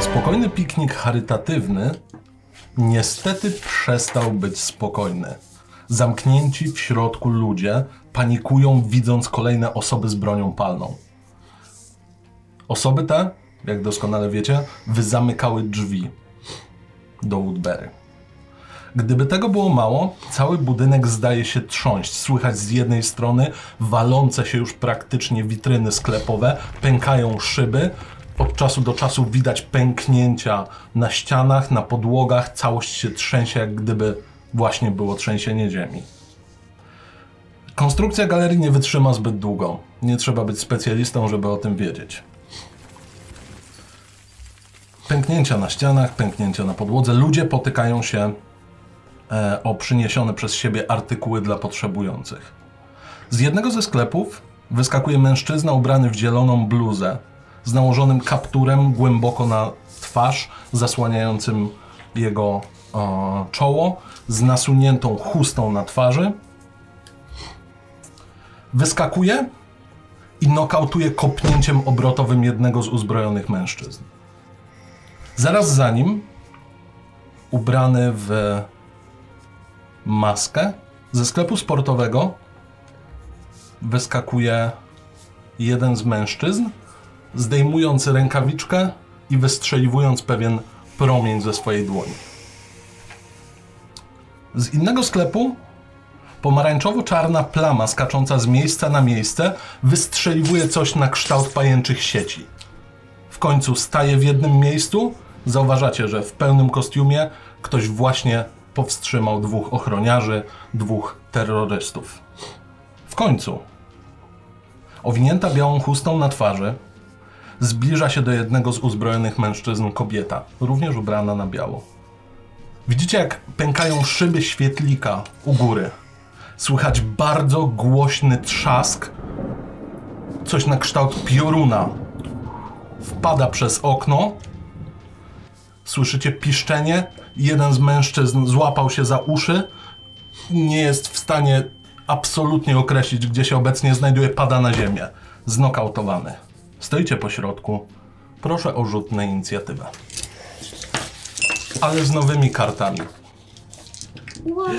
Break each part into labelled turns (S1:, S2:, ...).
S1: Spokojny piknik charytatywny niestety przestał być spokojny. Zamknięci w środku ludzie panikują, widząc kolejne osoby z bronią palną. Osoby te, jak doskonale wiecie, wyzamykały drzwi do Woodbury. Gdyby tego było mało, cały budynek zdaje się trząść. Słychać z jednej strony walące się już praktycznie witryny sklepowe, pękają szyby. Od czasu do czasu widać pęknięcia na ścianach, na podłogach. Całość się trzęsie, jak gdyby właśnie było trzęsienie ziemi. Konstrukcja galerii nie wytrzyma zbyt długo. Nie trzeba być specjalistą, żeby o tym wiedzieć. Pęknięcia na ścianach, pęknięcia na podłodze. Ludzie potykają się e, o przyniesione przez siebie artykuły dla potrzebujących. Z jednego ze sklepów wyskakuje mężczyzna ubrany w zieloną bluzę z nałożonym kapturem głęboko na twarz, zasłaniającym jego e, czoło, z nasuniętą chustą na twarzy. Wyskakuje i nokautuje kopnięciem obrotowym jednego z uzbrojonych mężczyzn. Zaraz za nim, ubrany w maskę. Ze sklepu sportowego wyskakuje jeden z mężczyzn, zdejmując rękawiczkę i wystrzeliwując pewien promień ze swojej dłoni. Z innego sklepu pomarańczowo-czarna plama skacząca z miejsca na miejsce wystrzeliwuje coś na kształt pajęczych sieci. W końcu staje w jednym miejscu. Zauważacie, że w pełnym kostiumie ktoś właśnie powstrzymał dwóch ochroniarzy, dwóch terrorystów. W końcu, owinięta białą chustą na twarzy, zbliża się do jednego z uzbrojonych mężczyzn kobieta, również ubrana na biało. Widzicie, jak pękają szyby świetlika u góry. Słychać bardzo głośny trzask, coś na kształt pioruna wpada przez okno. Słyszycie piszczenie. Jeden z mężczyzn złapał się za uszy. Nie jest w stanie absolutnie określić, gdzie się obecnie znajduje. Pada na ziemię. Znokautowany. Stoicie po środku. Proszę o rzut na inicjatywę. Ale z nowymi kartami.
S2: Wow.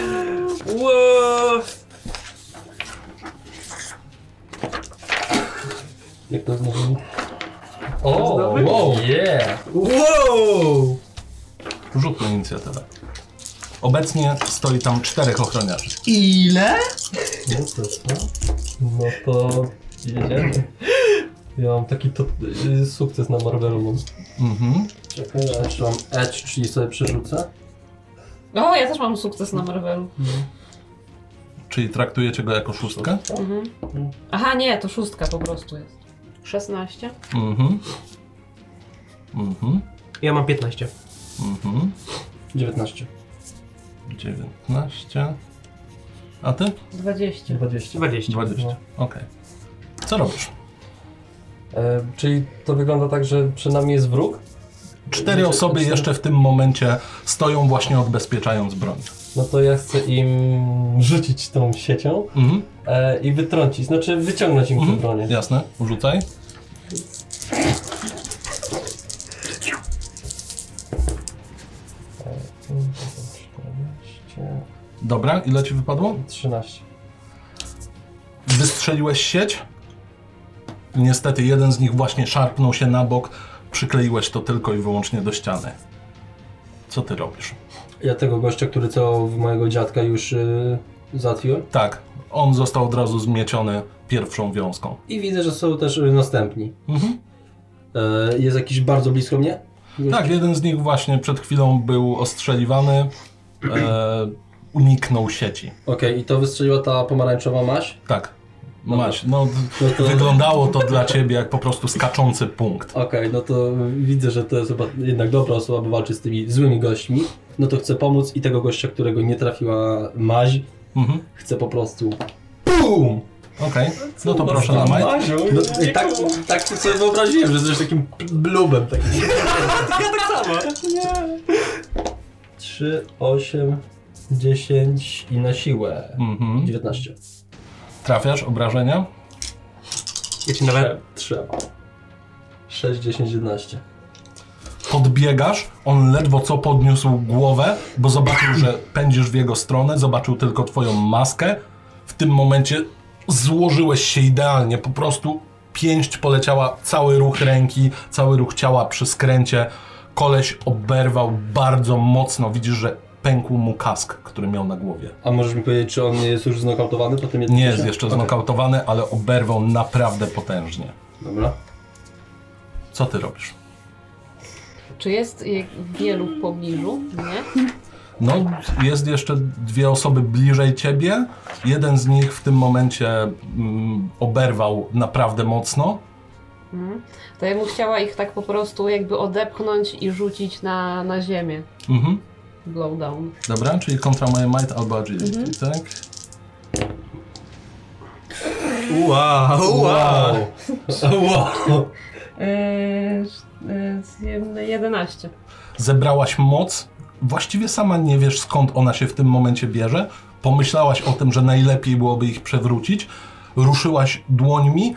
S3: Jak to znowu?
S4: O, wow, yeah.
S2: wow!
S1: Rzut na inicjatywę. Obecnie stoi tam czterech ochroniarzy.
S2: Ile?
S3: No to jest to.
S4: No to jedziemy. Ja mam taki to, y, sukces na Marvelu. mam.
S1: Mhm.
S3: Czekaj, ja jeszcze mam edge, czyli sobie przerzucę.
S5: No, ja też mam sukces na Marvelu.
S1: Czyli traktujecie go jako szóstkę?
S5: Aha, nie, to szóstka po prostu jest. 16.
S1: Mhm. Mhm.
S2: Ja mam 15.
S1: Mhm.
S3: 19.
S1: 19. A ty?
S5: 20.
S4: 20.
S2: 20.
S1: 20. Okej. Co robisz?
S4: E, czyli to wygląda tak, że przed nami jest wróg?
S1: Cztery osoby jeszcze w tym momencie stoją właśnie odbezpieczając broń.
S4: No to ja chcę im rzucić tą siecią
S1: Mhm.
S4: e, i wytrącić, znaczy wyciągnąć im
S1: Mhm.
S4: tę bronię.
S1: Jasne, rzucaj.
S4: Mm, to są 14,
S1: Dobra, ile ci wypadło?
S4: 13.
S1: Wystrzeliłeś sieć. Niestety jeden z nich właśnie szarpnął się na bok. Przykleiłeś to tylko i wyłącznie do ściany. Co ty robisz?
S3: Ja tego gościa, który całował w mojego dziadka już yy, zatwiłem.
S1: Tak, on został od razu zmieciony pierwszą wiązką.
S3: I widzę, że są też y, następni.
S1: Mhm.
S3: E, jest jakiś bardzo blisko mnie?
S1: Tak, jeden z nich właśnie przed chwilą był ostrzeliwany. E, uniknął sieci.
S3: Okej, i to wystrzeliła ta pomarańczowa maś?
S1: Tak. Masz, no,
S3: No to...
S1: wyglądało to dla ciebie jak po prostu skaczący punkt.
S3: Okej, no to widzę, że to jest chyba jednak dobra osoba, bo walczy z tymi złymi gośćmi. No to chcę pomóc i tego gościa, którego nie trafiła maź,
S1: Mhm.
S3: chcę po prostu... BUM!
S1: Okej, no to proszę na maj.
S3: No, i tak, tak sobie wyobraziłem, że jesteś takim blubem. Takim. ja tak samo. 3, 8, 10 i na siłę.
S1: Mhm.
S3: 19.
S1: Trafiasz, obrażenia.
S2: Ja ci nawet...
S3: Trzeba. 6, 10, 11.
S1: Podbiegasz, on ledwo co podniósł głowę, bo zobaczył, że pędzisz w jego stronę, zobaczył tylko twoją maskę. W tym momencie złożyłeś się idealnie, po prostu pięść poleciała, cały ruch ręki, cały ruch ciała przy skręcie. Koleś oberwał bardzo mocno, widzisz, że pękł mu kask, który miał na głowie.
S3: A możesz mi powiedzieć, czy on jest już znokautowany po tym jednym
S1: Nie
S3: ciosie?
S1: jest jeszcze
S3: Okej,
S1: znokautowany, ale oberwał naprawdę potężnie.
S3: Dobra.
S1: Co ty robisz?
S5: Czy jest y, wielu w pobliżu? Nie?
S1: No, jest jeszcze dwie osoby bliżej ciebie. Jeden z nich w tym momencie mm, oberwał naprawdę mocno.
S5: Mhm. To ja bym chciała ich tak po prostu jakby odepchnąć i rzucić na, na ziemię.
S1: Mhm.
S5: Blowdown.
S1: Dobra, czyli kontra moje might albo agility, tak?
S2: Wow, wow.
S3: Wow.
S5: Yy, 11.
S1: Zebrałaś moc. Właściwie sama nie wiesz skąd ona się w tym momencie bierze. Pomyślałaś o tym, że najlepiej byłoby ich przewrócić. Ruszyłaś dłońmi.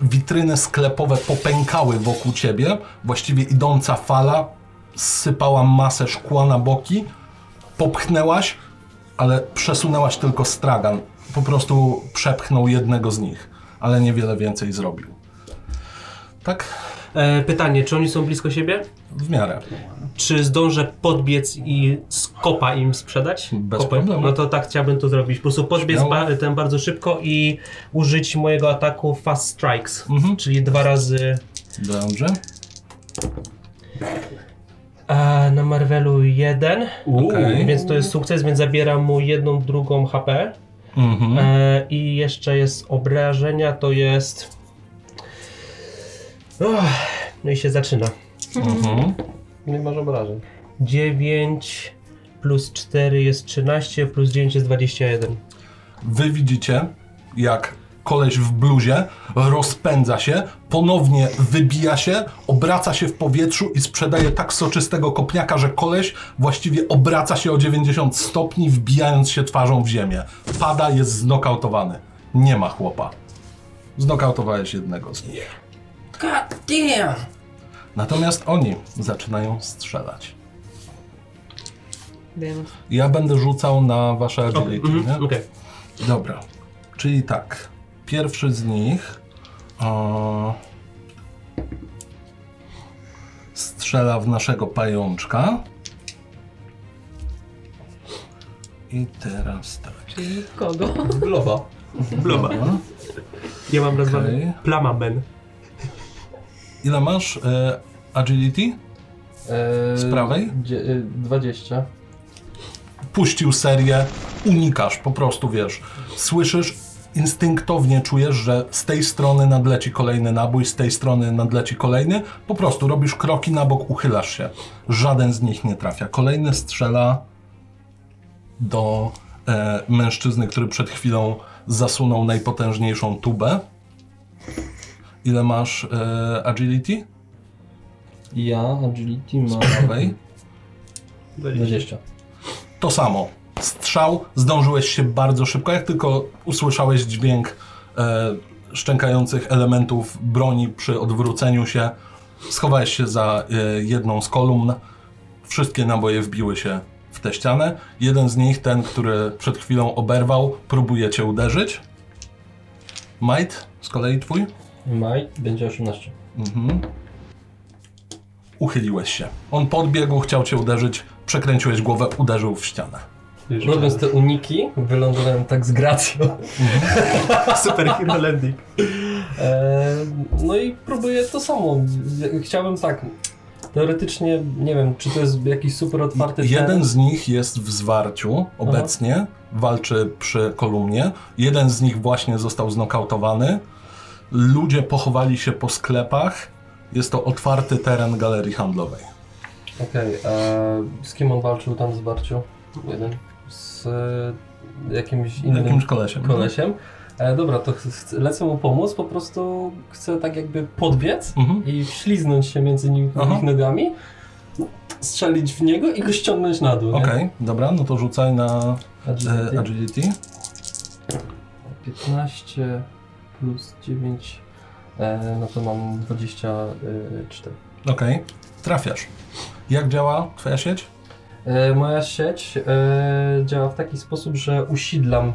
S1: Witryny sklepowe popękały wokół ciebie. Właściwie idąca fala sypała masę szkła na boki. Popchnęłaś, ale przesunęłaś tylko stragan. Po prostu przepchnął jednego z nich, ale niewiele więcej zrobił. Tak?
S2: E, pytanie, czy oni są blisko siebie?
S1: W miarę.
S2: Czy zdążę podbiec i z kopa im sprzedać?
S1: Bez
S2: Kopem?
S1: problemu.
S2: No to tak chciałbym to zrobić. Po prostu podbiec
S1: Śmiało.
S2: ba ten bardzo szybko i użyć mojego ataku Fast Strikes,
S1: Mhm.
S2: czyli dwa razy
S1: Dobrze.
S2: e, na Marvelu jeden,
S1: Okej.
S2: więc to jest sukces, więc zabieram mu jedną, drugą HP.
S1: Mhm.
S2: E, I jeszcze jest obrażenia, to jest... Uch, no i się zaczyna.
S1: Mhm.
S4: Nie masz obrażeń.
S2: 9 plus 4 jest 13, plus 9 jest 21.
S1: Wy widzicie, jak koleś w bluzie rozpędza się, ponownie wybija się, obraca się w powietrzu i sprzedaje tak soczystego kopniaka, że koleś właściwie obraca się o 90 stopni, wbijając się twarzą w ziemię. Pada, jest znokautowany. Nie ma chłopa. Znokautowałeś jednego z nich.
S6: God damn!
S1: Natomiast oni zaczynają strzelać.
S5: Wiem.
S1: Ja będę rzucał na wasze agility,
S2: Mhm,
S1: nie?
S2: Okej.
S1: Dobra, czyli tak. Pierwszy z nich e, o, strzela w naszego pajączka. I teraz tak.
S5: Czyli kogo?
S4: Globa.
S2: Bloba. Ja mam nazwany
S1: Okej.
S2: Plamamen.
S1: Ile masz e, agility?
S4: Eee,
S1: Z prawej?
S4: Dzie- y, 20.
S1: Puścił serię, unikasz, po prostu wiesz. Słyszysz, instynktownie czujesz, że z tej strony nadleci kolejny nabój, z tej strony nadleci kolejny. Po prostu robisz kroki na bok, uchylasz się. Żaden z nich nie trafia. Kolejny strzela do e, mężczyzny, który przed chwilą zasunął najpotężniejszą tubę. Ile masz e, agility?
S4: Ja agility mam
S1: Prawej.
S4: 20.
S1: To samo. Strzał, zdążyłeś się bardzo szybko. Jak tylko usłyszałeś dźwięk e, szczękających elementów broni przy odwróceniu się, schowałeś się za e, jedną z kolumn. Wszystkie naboje wbiły się w tę ścianę. Jeden z nich, ten, który przed chwilą oberwał, próbuje cię uderzyć. Might, z kolei twój.
S4: Maj będzie 18.
S1: Mhm. Uchyliłeś się. On podbiegł, chciał cię uderzyć, przekręciłeś głowę, uderzył w ścianę.
S4: Robiąc te uniki, wylądowałem tak z gracją.
S2: Superhero Landing.
S4: E, no i próbuję to samo. Chciałbym tak. Teoretycznie nie wiem, czy to jest jakiś super otwarty teren.
S1: Jeden z nich jest w zwarciu obecnie, walczy przy kolumnie. Jeden z nich właśnie został znokautowany. Ludzie pochowali się po sklepach. Jest to otwarty teren galerii handlowej.
S4: Okej, a z kim on walczył tam w zwarciu? Jeden. Z e, jakimś innym
S1: Jakimś kolesiem.
S4: kolesiem. E, dobra, to ch- ch- lecę mu pomóc, po prostu chcę tak jakby podbiec
S1: Mhm.
S4: i wśliznąć się między nim,
S1: Aha.
S4: ich nogami, No, strzelić w niego i go ściągnąć na dół. nie?
S1: Okej, dobra, no to rzucaj na
S4: Agility.
S1: e, agility.
S4: 15 plus 9, e, no to mam 24.
S1: Okej, trafiasz. Jak działa twoja sieć?
S4: E, moja sieć e, działa w taki sposób, że usidlam e,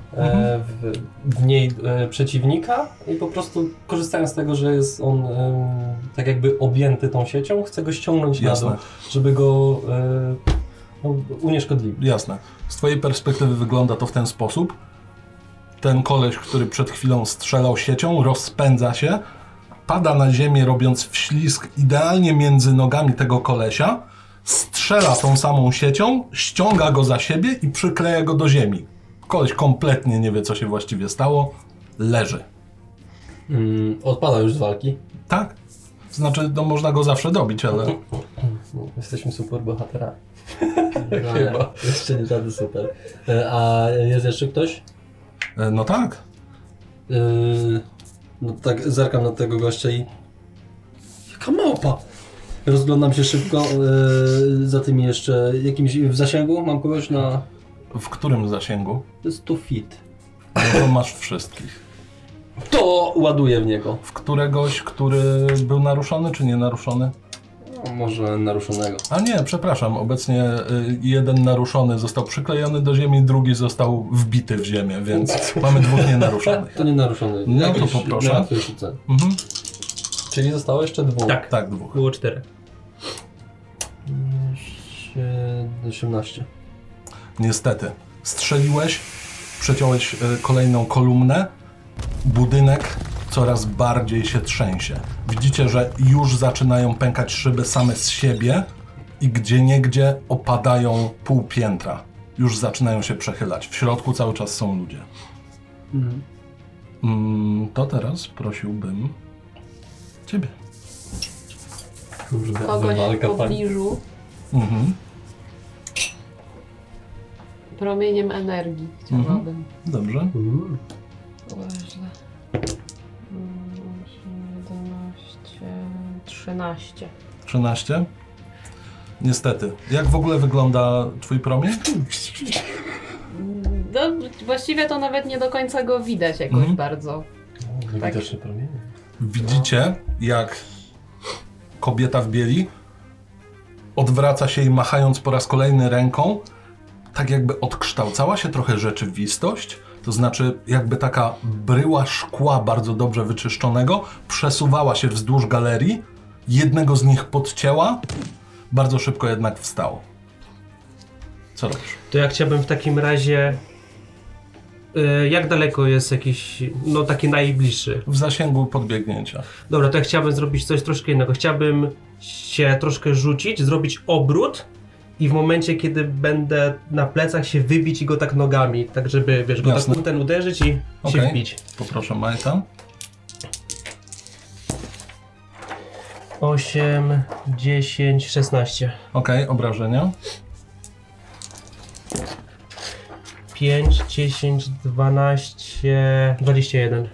S4: w, w niej e, przeciwnika i po prostu korzystając z tego, że jest on em, tak jakby objęty tą siecią, chcę go ściągnąć na dół,
S1: Jasne,
S4: żeby go e, no, unieszkodliwić.
S1: jasne. Z twojej perspektywy wygląda to w ten sposób. Ten koleś, który przed chwilą strzelał siecią, rozpędza się, pada na ziemię, robiąc wślizg idealnie między nogami tego kolesia, strzela tą samą siecią, ściąga go za siebie i przykleja go do ziemi. Koleś kompletnie nie wie, co się właściwie stało, leży.
S3: Mm, odpada już z walki.
S1: Tak? Znaczy, no, można go zawsze dobić, ale...
S4: Jesteśmy super bohaterami.
S3: Chyba. Jeszcze nie żaden super. E, A jest jeszcze ktoś?
S1: E, No tak.
S3: E, No tak, zerkam na tego gościa i... Jaka małpa! Rozglądam się szybko, e, za tymi jeszcze jakimś w zasięgu mam kogoś na...
S1: W którym zasięgu?
S3: To jest 100 feet.
S1: No to masz wszystkich.
S3: To ładuję w niego.
S1: W któregoś, który był naruszony czy nie naruszony?
S3: No, może naruszonego.
S1: A nie, przepraszam, obecnie y, jeden naruszony został przyklejony do ziemi, drugi został wbity w ziemię, więc mamy dwóch nienaruszonych.
S3: To nie naruszony.
S1: No to
S3: Jakiś
S1: poproszę.
S3: na łatwiej rzucę.
S1: Mhm.
S4: Czyli zostało jeszcze dwóch.
S2: Tak,
S1: Tak, dwóch.
S2: było cztery.
S3: Sie- 18.
S1: Niestety. Strzeliłeś, przeciąłeś y, kolejną kolumnę, budynek coraz bardziej się trzęsie. Widzicie, że już zaczynają pękać szyby same z siebie i gdzieniegdzie opadają pół piętra. Już zaczynają się przechylać. W środku cały czas są ludzie. Mm, to teraz prosiłbym ciebie.
S3: Kurde,
S5: Kogoś w
S3: walka pani.
S5: pobliżu
S1: Mhm.
S5: promieniem energii chciałabym.
S1: Dobrze.
S5: Właśnie. Mm, 11, 13.
S1: 13. Niestety. Jak w ogóle wygląda twój promień?
S5: No, właściwie to nawet nie do końca go widać jakoś
S1: Mhm.
S5: bardzo. Tak.
S4: Widoczne promienie.
S1: Widzicie, jak kobieta w bieli odwraca się i machając po raz kolejny ręką, tak jakby odkształcała się trochę rzeczywistość, to znaczy jakby taka bryła szkła bardzo dobrze wyczyszczonego przesuwała się wzdłuż galerii, jednego z nich podcięła, bardzo szybko jednak wstało. Co robisz?
S2: To ja chciałbym w takim razie... y, Jak daleko jest jakiś, no taki najbliższy?
S1: W zasięgu podbiegnięcia.
S2: Dobra, to ja chciałbym zrobić coś troszkę innego. Chciałbym się troszkę rzucić, zrobić obrót i w momencie, kiedy będę na plecach się wybić i go tak nogami, tak żeby, wiesz, go
S1: Jasne.
S2: tak ten uderzyć i się
S1: Okej.
S2: wbić.
S1: Poproszę Majta.
S2: 8, 10, 16,
S1: Okej, obrażenia.
S2: 5, 10, 12, 21.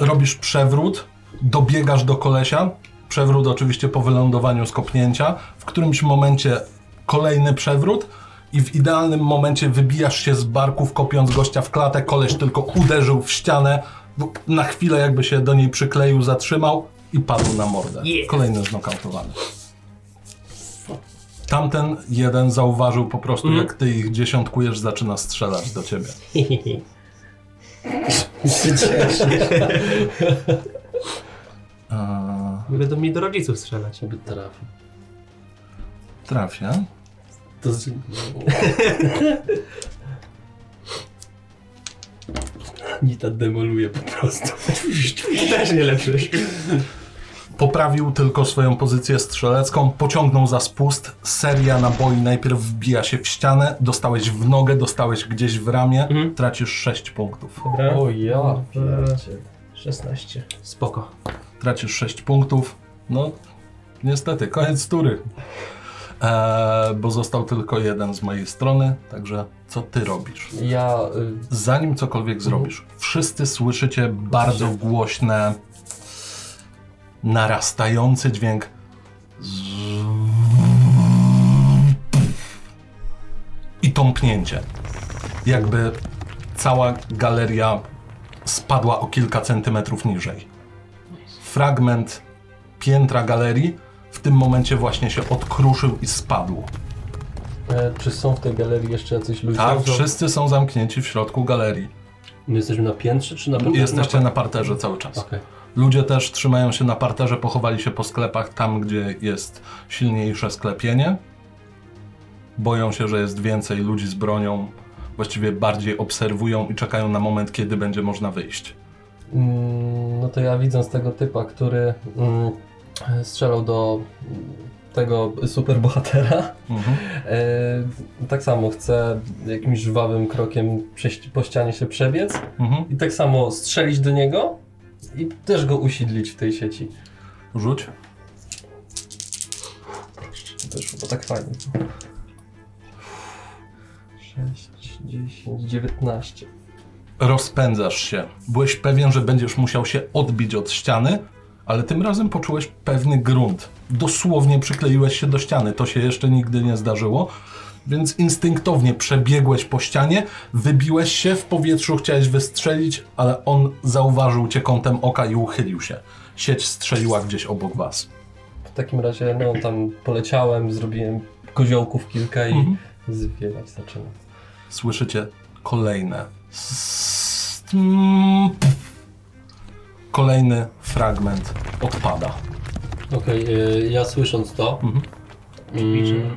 S1: robisz przewrót, dobiegasz do kolesia. Przewrót oczywiście po wylądowaniu z kopnięcia. W którymś momencie kolejny przewrót i w idealnym momencie wybijasz się z barków, kopiąc gościa w klatę. Koleś tylko uderzył w ścianę, w- na chwilę jakby się do niej przykleił, zatrzymał i padł na mordę.
S2: Yeah.
S1: Kolejny znokautowany. Tamten jeden zauważył po prostu,
S2: Mhm.
S1: jak ty ich dziesiątkujesz, zaczyna strzelać do ciebie. Eee,
S2: Będą mi do rodziców strzelać.
S3: Żeby trafił.
S1: trafia.
S3: To znaczy- z... Nita demoluje po prostu.
S2: Też nie lepszy.
S1: Poprawił tylko swoją pozycję strzelecką, pociągnął za spust. Seria naboi najpierw wbija się w ścianę, dostałeś w nogę, dostałeś gdzieś w ramię,
S2: Mhm.
S1: tracisz 6 punktów.
S2: Dobra.
S4: O ja. pierdzie-
S2: 16. Spoko.
S1: Tracisz 6 punktów. No, niestety, koniec tury. Eee, bo został tylko jeden z mojej strony, także co ty robisz?
S4: Ja
S1: Zanim cokolwiek zrobisz, wszyscy słyszycie bardzo głośne, narastający dźwięk. I tąpnięcie. Jakby cała galeria spadła o kilka centymetrów niżej. Fragment piętra galerii, w tym momencie właśnie się odkruszył i spadł.
S4: y,
S3: E, czy są w tej galerii jeszcze jacyś ludzie?
S1: Tak,
S3: Są-
S1: wszyscy są zamknięci w środku galerii.
S3: My jesteśmy na piętrze czy na
S1: I Jesteście na parterze cały czas.
S3: Okej.
S1: Ludzie też trzymają się na parterze, pochowali się po sklepach, tam gdzie jest silniejsze sklepienie. Boją się, że jest więcej ludzi z bronią. Właściwie bardziej obserwują i czekają na moment, kiedy będzie można wyjść.
S4: Mm, No to ja widząc tego typa, który mm, strzelał do mm, tego superbohatera,
S1: Mhm.
S4: e, tak samo chce jakimś żwawym krokiem przejść, po ścianie się przebiec
S1: Mhm.
S4: i tak samo strzelić do niego i też go usidlić w tej sieci.
S1: Rzuć.
S4: Wyszło, bo tak fajnie. 6, 10, 19.
S1: Rozpędzasz się. Byłeś pewien, że będziesz musiał się odbić od ściany, ale tym razem poczułeś pewny grunt. Dosłownie przykleiłeś się do ściany. To się jeszcze nigdy nie zdarzyło. Więc instynktownie przebiegłeś po ścianie, wybiłeś się, w powietrzu chciałeś wystrzelić, ale on zauważył cię kątem oka i uchylił się. Sieć strzeliła gdzieś obok was.
S4: W takim razie no tam poleciałem, zrobiłem koziołków kilka i
S1: Mhm.
S4: zwiewać zaczynam.
S1: Słyszycie kolejne. s- tm- pf. Kolejny fragment odpada.
S3: Okej, e, ja słysząc to,
S1: Mhm.
S3: mm,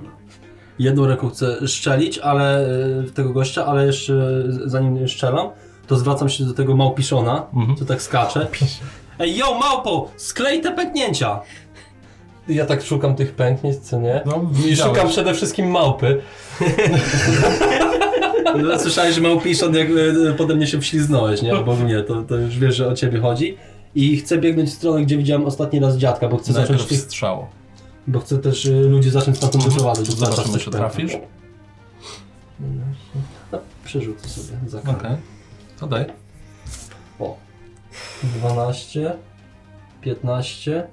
S3: jedną ręką chcę szczelić, ale e, w tego gościa, ale jeszcze z- zanim szczelam, to zwracam się do tego małpiszona,
S1: Mhm.
S3: co tak skacze. Ej, yo, małpo, sklej te pęknięcia!
S4: Ja tak szukam tych pęknięć, co nie?
S1: No,
S4: I
S1: widziałem.
S4: szukam przede wszystkim małpy.
S3: No, Słyszałeś, że małpiszon, jak e, pode mnie się wśliznąłeś, nie? Bo mnie, to, to już wiesz, że o ciebie chodzi. I chcę biegnąć w stronę, gdzie widziałem ostatni raz dziadka, bo chcę zacząć
S1: Najpierw
S3: tych
S1: strzał.
S3: Bo chcę też y, ludzi zacząć na to wyprowadzać.
S1: Zobaczymy, czy trafisz.
S3: No, Przerzucę sobie za
S1: Okej.
S3: karę.
S1: To daj.
S3: 12, 15,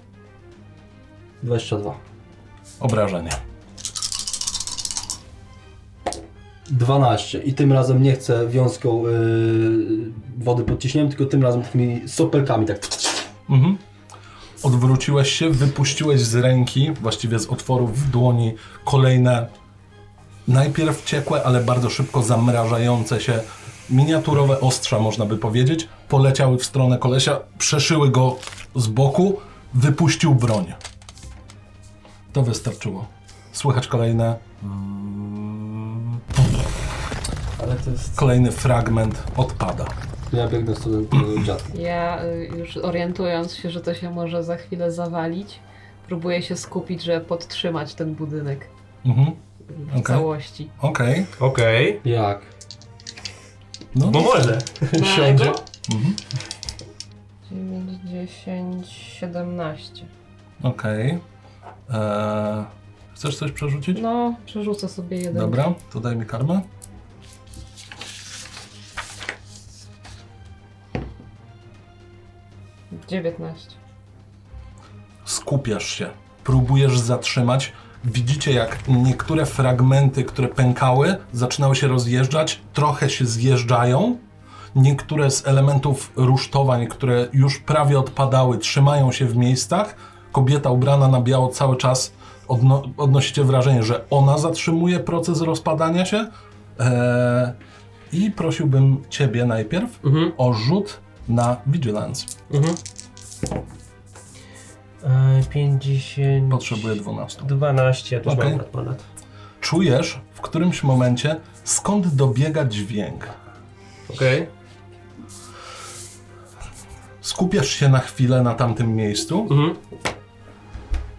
S3: 22.
S1: Obrażenie.
S3: 12. I tym razem nie chcę wiązką y, wody pod ciśnieniem, tylko tym razem takimi sopelkami tak.
S1: Mhm. Odwróciłeś się, wypuściłeś z ręki, właściwie z otworów w dłoni, kolejne najpierw ciekłe, ale bardzo szybko zamrażające się miniaturowe ostrza, można by powiedzieć. Poleciały w stronę kolesia, przeszyły go z boku, wypuścił broń. To wystarczyło. Słychać kolejne
S4: Ale to jest...
S1: Kolejny fragment odpada.
S3: Ja biegnę w stronę y, dziadka.
S5: Ja y, już orientując się, że to się może za chwilę zawalić, próbuję się skupić, żeby podtrzymać ten budynek
S1: Mhm.
S5: w
S1: Okej.
S5: całości.
S1: Okej.
S2: Okej.
S3: Jak?
S1: No,
S2: Bo może.
S5: Siądzie.
S1: Mhm.
S5: 9, 10, 17.
S1: Okej. Eee, chcesz coś przerzucić?
S5: No, przerzucę sobie jeden.
S1: Dobra, to daj mi karmę.
S5: Dziewiętnaście.
S1: skupiasz się, próbujesz zatrzymać. Widzicie, jak niektóre fragmenty, które pękały, zaczynały się rozjeżdżać, trochę się zjeżdżają. Niektóre z elementów rusztowań, które już prawie odpadały, trzymają się w miejscach. Kobieta ubrana na biało cały czas odno odnosicie wrażenie, że ona zatrzymuje proces rozpadania się. Eee, I prosiłbym Ciebie najpierw
S2: Mhm.
S1: o rzut na Vigilance.
S2: Mhm. E, 50.
S1: Potrzebuję 12.
S2: 12, ja też
S1: Okej.
S2: mam ponad, ponad.
S1: czujesz w którymś momencie, skąd dobiega dźwięk.
S2: Okej.
S1: Skupiasz się na chwilę na tamtym miejscu.
S2: Mhm.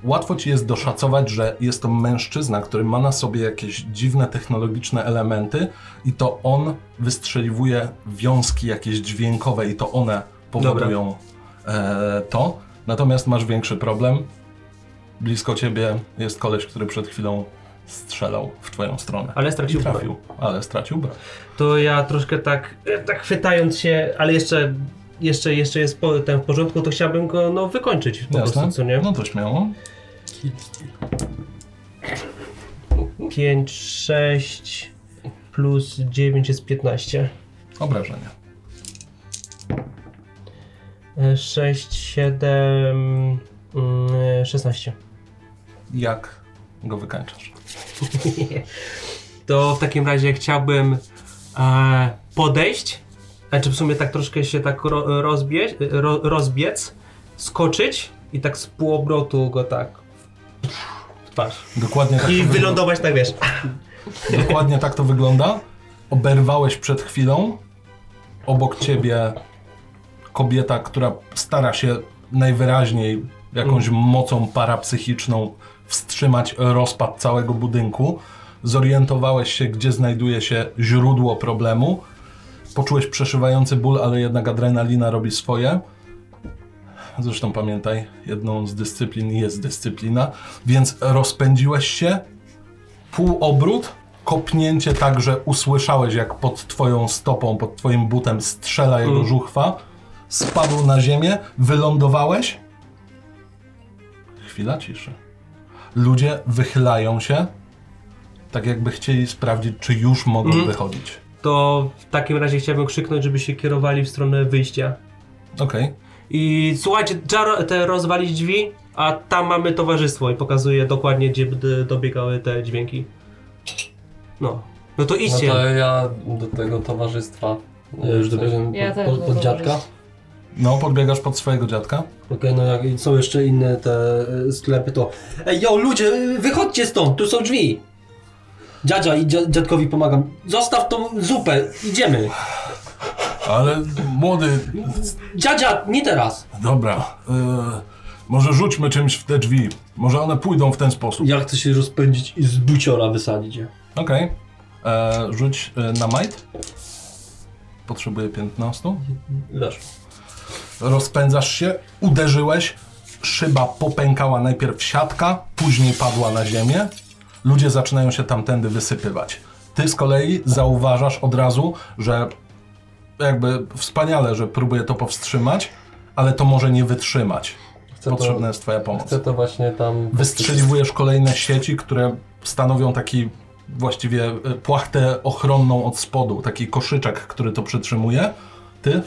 S1: Łatwo ci jest doszacować, że jest to mężczyzna, który ma na sobie jakieś dziwne technologiczne elementy i to on wystrzeliwuje wiązki jakieś dźwiękowe i to one powodują e, to. Natomiast masz większy problem. Blisko ciebie jest koleś, który przed chwilą strzelał w twoją stronę.
S2: Ale
S1: I
S2: stracił broń.
S1: trafił, ale stracił broń.
S2: To ja troszkę tak, e, tak chwytając się, ale jeszcze, jeszcze, jeszcze jest po, ten w porządku, to chciałbym go no, wykończyć po
S1: Jasne?
S2: prostu, co nie?
S1: No to śmiało.
S2: 5, 6 plus 9 jest 15.
S1: Obrażenia.
S2: E, 6, 7, E, 16.
S1: Jak go wykańczasz?
S2: To w takim razie chciałbym e, podejść, znaczy w sumie tak troszkę się tak ro, rozbiec, ro, rozbiec, skoczyć i tak z pół obrotu go tak w twarz.
S1: Dokładnie tak, to
S2: I
S1: wygląda.
S2: wylądować tak wiesz.
S1: Dokładnie tak to wygląda. Oberwałeś przed chwilą. Obok ciebie kobieta, która stara się najwyraźniej jakąś mocą parapsychiczną wstrzymać rozpad całego budynku. Zorientowałeś się, gdzie znajduje się źródło problemu. Poczułeś przeszywający ból, ale jednak adrenalina robi swoje. Zresztą pamiętaj, jedną z dyscyplin jest dyscyplina, więc rozpędziłeś się, pół obrót, kopnięcie tak, że usłyszałeś jak pod twoją stopą, pod twoim butem strzela jego żuchwa, spadł na ziemię, wylądowałeś. Chwila ciszy. Ludzie wychylają się, tak jakby chcieli sprawdzić, czy już mogą
S2: Mm.
S1: wychodzić.
S2: To w takim razie chciałbym krzyknąć, żeby się kierowali w stronę wyjścia.
S1: Okej.
S2: I słuchajcie, trzeba ro- te rozwalić drzwi, a tam mamy towarzystwo i pokazuje dokładnie, gdzie d- dobiegały te dźwięki. No. No to
S4: No
S2: idźcie.
S4: to ja do tego towarzystwa.
S3: Ja już
S4: coś-
S3: dobiegłem
S5: Ja
S3: pod,
S5: też
S3: pod,
S5: do
S3: pod dziadka.
S5: towarzystwa.
S1: No, podbiegasz pod swojego dziadka.
S3: Okej, no jak i są jeszcze inne te e, sklepy, to... Ej, yo, ludzie, wychodźcie stąd, tu są drzwi! Dziadzia i dzia- dziadkowi pomagam. Zostaw tą zupę, idziemy.
S1: Ale młody,
S3: Dziadzia, nie teraz.
S1: dobra. y, może rzućmy czymś w te drzwi. Może one pójdą w ten sposób.
S3: Ja chcę się rozpędzić i z buciora wysadzić je.
S1: Okej. E, Rzuć e, na might. Potrzebuję 15.
S3: Wiesz.
S1: Rozpędzasz się, uderzyłeś, szyba popękała najpierw siatka, później padła na ziemię. Ludzie zaczynają się tamtędy wysypywać. Ty z kolei zauważasz od razu, że jakby wspaniale, że próbuje to powstrzymać, ale to może nie wytrzymać.
S4: Chcę to-
S1: Potrzebna jest twoja pomoc.
S4: Chcę to właśnie tam...
S1: Wystrzeliwujesz kolejne sieci, które stanowią taki właściwie e, płachtę ochronną od spodu, taki koszyczek, który to przytrzymuje. Ty?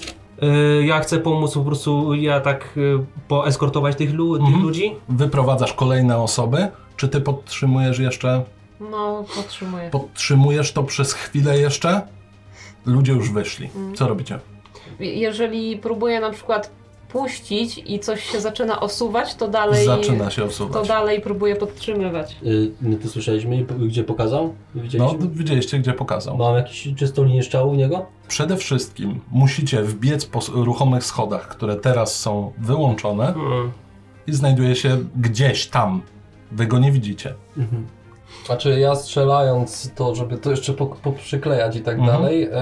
S2: Y, Ja chcę pomóc po prostu, ja tak y, poeskortować tych, lu-
S1: Mhm.
S2: tych ludzi.
S1: wyprowadzasz kolejne osoby, czy ty podtrzymujesz jeszcze,
S5: No, podtrzymuję.
S1: podtrzymujesz to przez chwilę jeszcze? Ludzie już wyszli. Co robicie?
S5: Jeżeli próbuję na przykład puścić i coś się zaczyna osuwać, to dalej...
S1: Zaczyna się
S5: To
S1: osuwać.
S5: dalej próbuję podtrzymywać.
S3: Y, my tu słyszeliśmy, gdzie pokazał?
S1: No,
S3: Widzieliśmy?
S1: widzieliście, gdzie pokazał.
S3: Mam jakąś czystą linię strzału u niego?
S1: Przede wszystkim musicie wbiec po s- ruchomych schodach, które teraz są wyłączone
S2: Mm.
S1: i znajduje się gdzieś tam. Wy go nie widzicie.
S4: Znaczy ja strzelając to, żeby to jeszcze po- poprzyklejać i tak
S1: Mhm.
S4: dalej, e,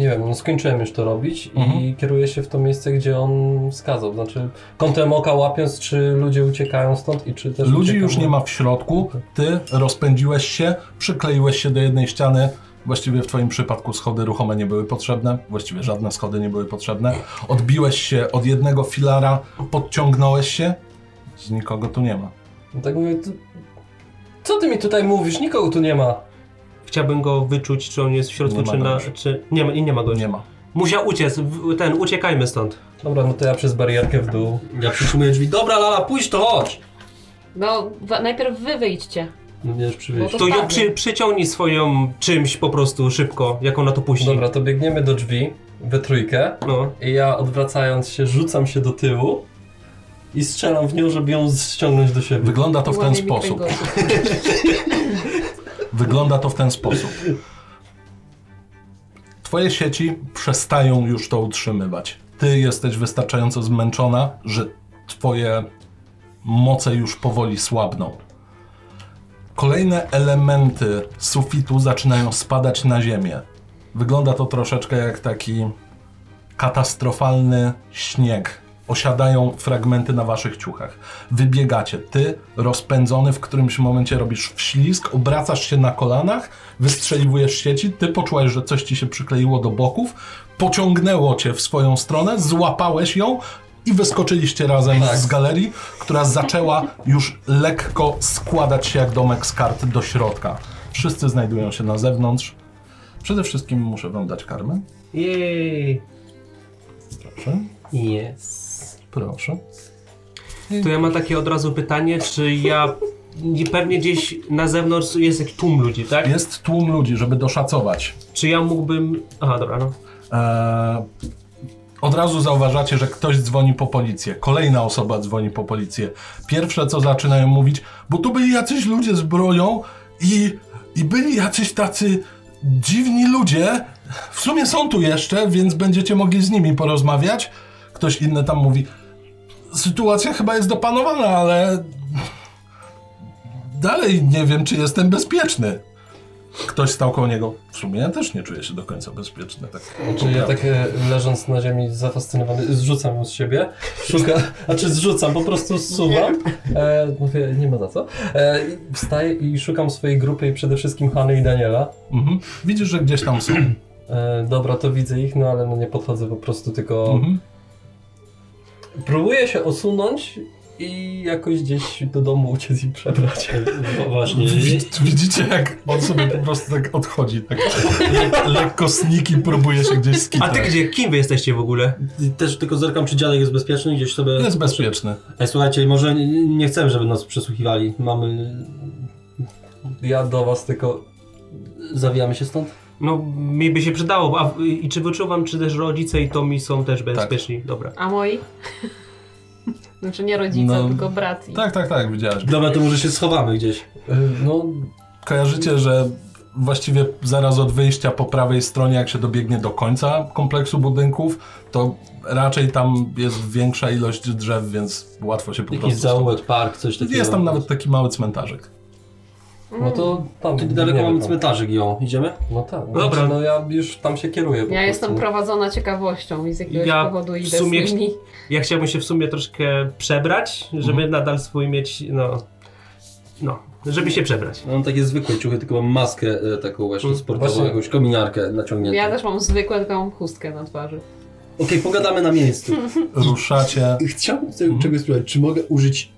S4: nie wiem, no skończyłem już to robić i
S1: Mhm.
S4: kieruję się w to miejsce, gdzie on wskazał. Znaczy kątem oka łapiąc, czy ludzie uciekają stąd i czy też
S1: Ludzi
S4: uciekam-
S1: już nie ma w środku, ty rozpędziłeś się, przykleiłeś się do jednej ściany. Właściwie w twoim przypadku schody ruchome nie były potrzebne, właściwie żadne schody nie były potrzebne. Odbiłeś się od jednego filara, podciągnąłeś się. Z nikogo tu nie ma.
S4: No Tak mówię, to, co ty mi tutaj mówisz? Nikogo tu nie ma.
S2: Chciałbym go wyczuć, czy on jest w środku,
S1: Nie ma
S2: czy
S1: go
S2: na.
S1: już.
S2: Czy... Nie, ma, nie ma go.
S1: Nie ma.
S2: Musiał uciec, w- ten, uciekajmy stąd.
S4: Dobra, no to ja przez barierkę w dół.
S3: Ja przytrzymuję drzwi. Dobra, Lala, pójdź to, chodź!
S5: No, wa- najpierw wy wyjdźcie.
S4: No,
S3: Wiesz,
S5: Bo
S3: przywieźć.
S5: to
S2: To ją
S5: spadnie.
S2: przy, przyciągnij swoją czymś po prostu szybko, jak ona to puści.
S4: Dobra, to biegniemy do drzwi we trójkę
S2: No.
S4: i ja odwracając się rzucam się do tyłu i strzelam w nią, żeby ją ściągnąć do siebie.
S1: Wygląda to w ten
S5: Łamie mi
S1: sposób.
S5: kręgosłup.
S1: Wygląda to w ten sposób. Twoje sieci przestają już to utrzymywać. Ty jesteś wystarczająco zmęczona, że twoje moce już powoli słabną. Kolejne elementy sufitu zaczynają spadać na ziemię. Wygląda to troszeczkę jak taki katastrofalny śnieg. Osiadają fragmenty na waszych ciuchach. Wybiegacie. Ty, rozpędzony, w którymś momencie robisz wślizg, obracasz się na kolanach, wystrzeliwujesz sieci, ty poczułeś, że coś ci się przykleiło do boków, pociągnęło cię w swoją stronę, złapałeś ją i wyskoczyliście razem z galerii, która zaczęła już lekko składać się jak domek z kart do środka. Wszyscy znajdują się na zewnątrz. Przede wszystkim muszę wam dać karmę.
S2: Jej.
S1: Proszę,
S2: Yes.
S1: proszę.
S2: To ja mam takie od razu pytanie, czy ja... i Pewnie gdzieś na zewnątrz jest jakiś tłum ludzi, tak?
S1: Jest tłum ludzi, żeby doszacować.
S2: Czy ja mógłbym... Aha, dobra, no.
S1: Eee, od razu zauważacie, że ktoś dzwoni po policję. Kolejna osoba dzwoni po policję. Pierwsze co zaczynają mówić, bo tu byli jacyś ludzie z broją i, i byli jacyś tacy dziwni ludzie. W sumie są tu jeszcze, więc będziecie mogli z nimi porozmawiać. Ktoś inny tam mówi, sytuacja chyba jest dopanowana, ale dalej nie wiem, czy jestem bezpieczny. Ktoś stał koło niego. W sumie ja też nie czuję się do końca bezpieczny. Tak
S4: Znaczy ja tak e, leżąc na ziemi zafascynowany, zrzucam ją z siebie, szukam, znaczy zrzucam, po prostu zsuwam, e, mówię, nie ma za co, e, i wstaję i szukam swojej grupy i przede wszystkim Hany i Daniela.
S1: Mhm. Widzisz, że gdzieś tam są.
S4: E, dobra, to widzę ich, no ale no nie podchodzę po prostu, tylko
S1: Mhm.
S4: próbuję się osunąć i jakoś gdzieś do domu uciec i przebrać.
S3: No
S1: E,
S3: właśnie.
S1: Widz- Widzicie, jak on sobie po prostu tak odchodzi. Tak le lekko sniki próbuje się gdzieś
S2: A ty
S1: skitrać.
S2: gdzie? Kim wy jesteście w ogóle?
S3: I Tak. Też tylko zerkam, czy dziadek jest bezpieczny, gdzieś sobie...
S1: Jest bezpieczny.
S3: Ej, słuchajcie, może nie, nie chcemy, żeby nas przesłuchiwali. Mamy...
S4: Ja do was tylko...
S3: Zawijamy się stąd?
S2: No, mi by się przydało. A, I czy wyczuwam, czy też rodzice i Tomi są też
S3: Tak.
S2: bezpieczni? Dobra.
S5: A moi? Znaczy nie rodzice,
S1: No,
S5: tylko brat. I...
S1: Tak, tak, tak, widziałeś.
S3: Dobra, to może się schowamy gdzieś.
S4: e, No,
S1: Kojarzycie, że właściwie zaraz od wyjścia po prawej stronie, jak się dobiegnie do końca kompleksu budynków, to raczej tam jest większa ilość drzew, więc łatwo się po
S3: Jakiś
S1: prostu...
S3: zaułek, park, coś takiego.
S1: Jest tam nawet taki mały cmentarzyk.
S4: no to tam...
S3: Tu daleko
S4: biegniemy
S3: mamy
S4: tam.
S3: cmentarzyk ją. Idziemy?
S4: No tak, no,
S2: Dobra.
S4: znaczy, no ja już tam się kieruję po
S5: Ja
S4: prostu.
S5: jestem prowadzona ciekawością i z jakiegoś
S2: Ja
S5: powodu
S2: w
S5: idę
S2: sumie
S5: z nimi.
S2: Ja chciałbym się w sumie troszkę przebrać, żeby nadal swój mieć, no... No, żeby się przebrać.
S3: Mam takie zwykłe ciuchy, tylko mam maskę e, taką właśnie sportową,
S4: Właśnie.
S3: jakąś kominiarkę naciągniętą.
S5: Ja też mam zwykłe taką chustkę na twarzy.
S3: Okej, pogadamy na miejscu.
S1: Ruszacie...
S3: Chciałbym sobie
S4: Mhm.
S3: czegoś spróbować. Czy mogę użyć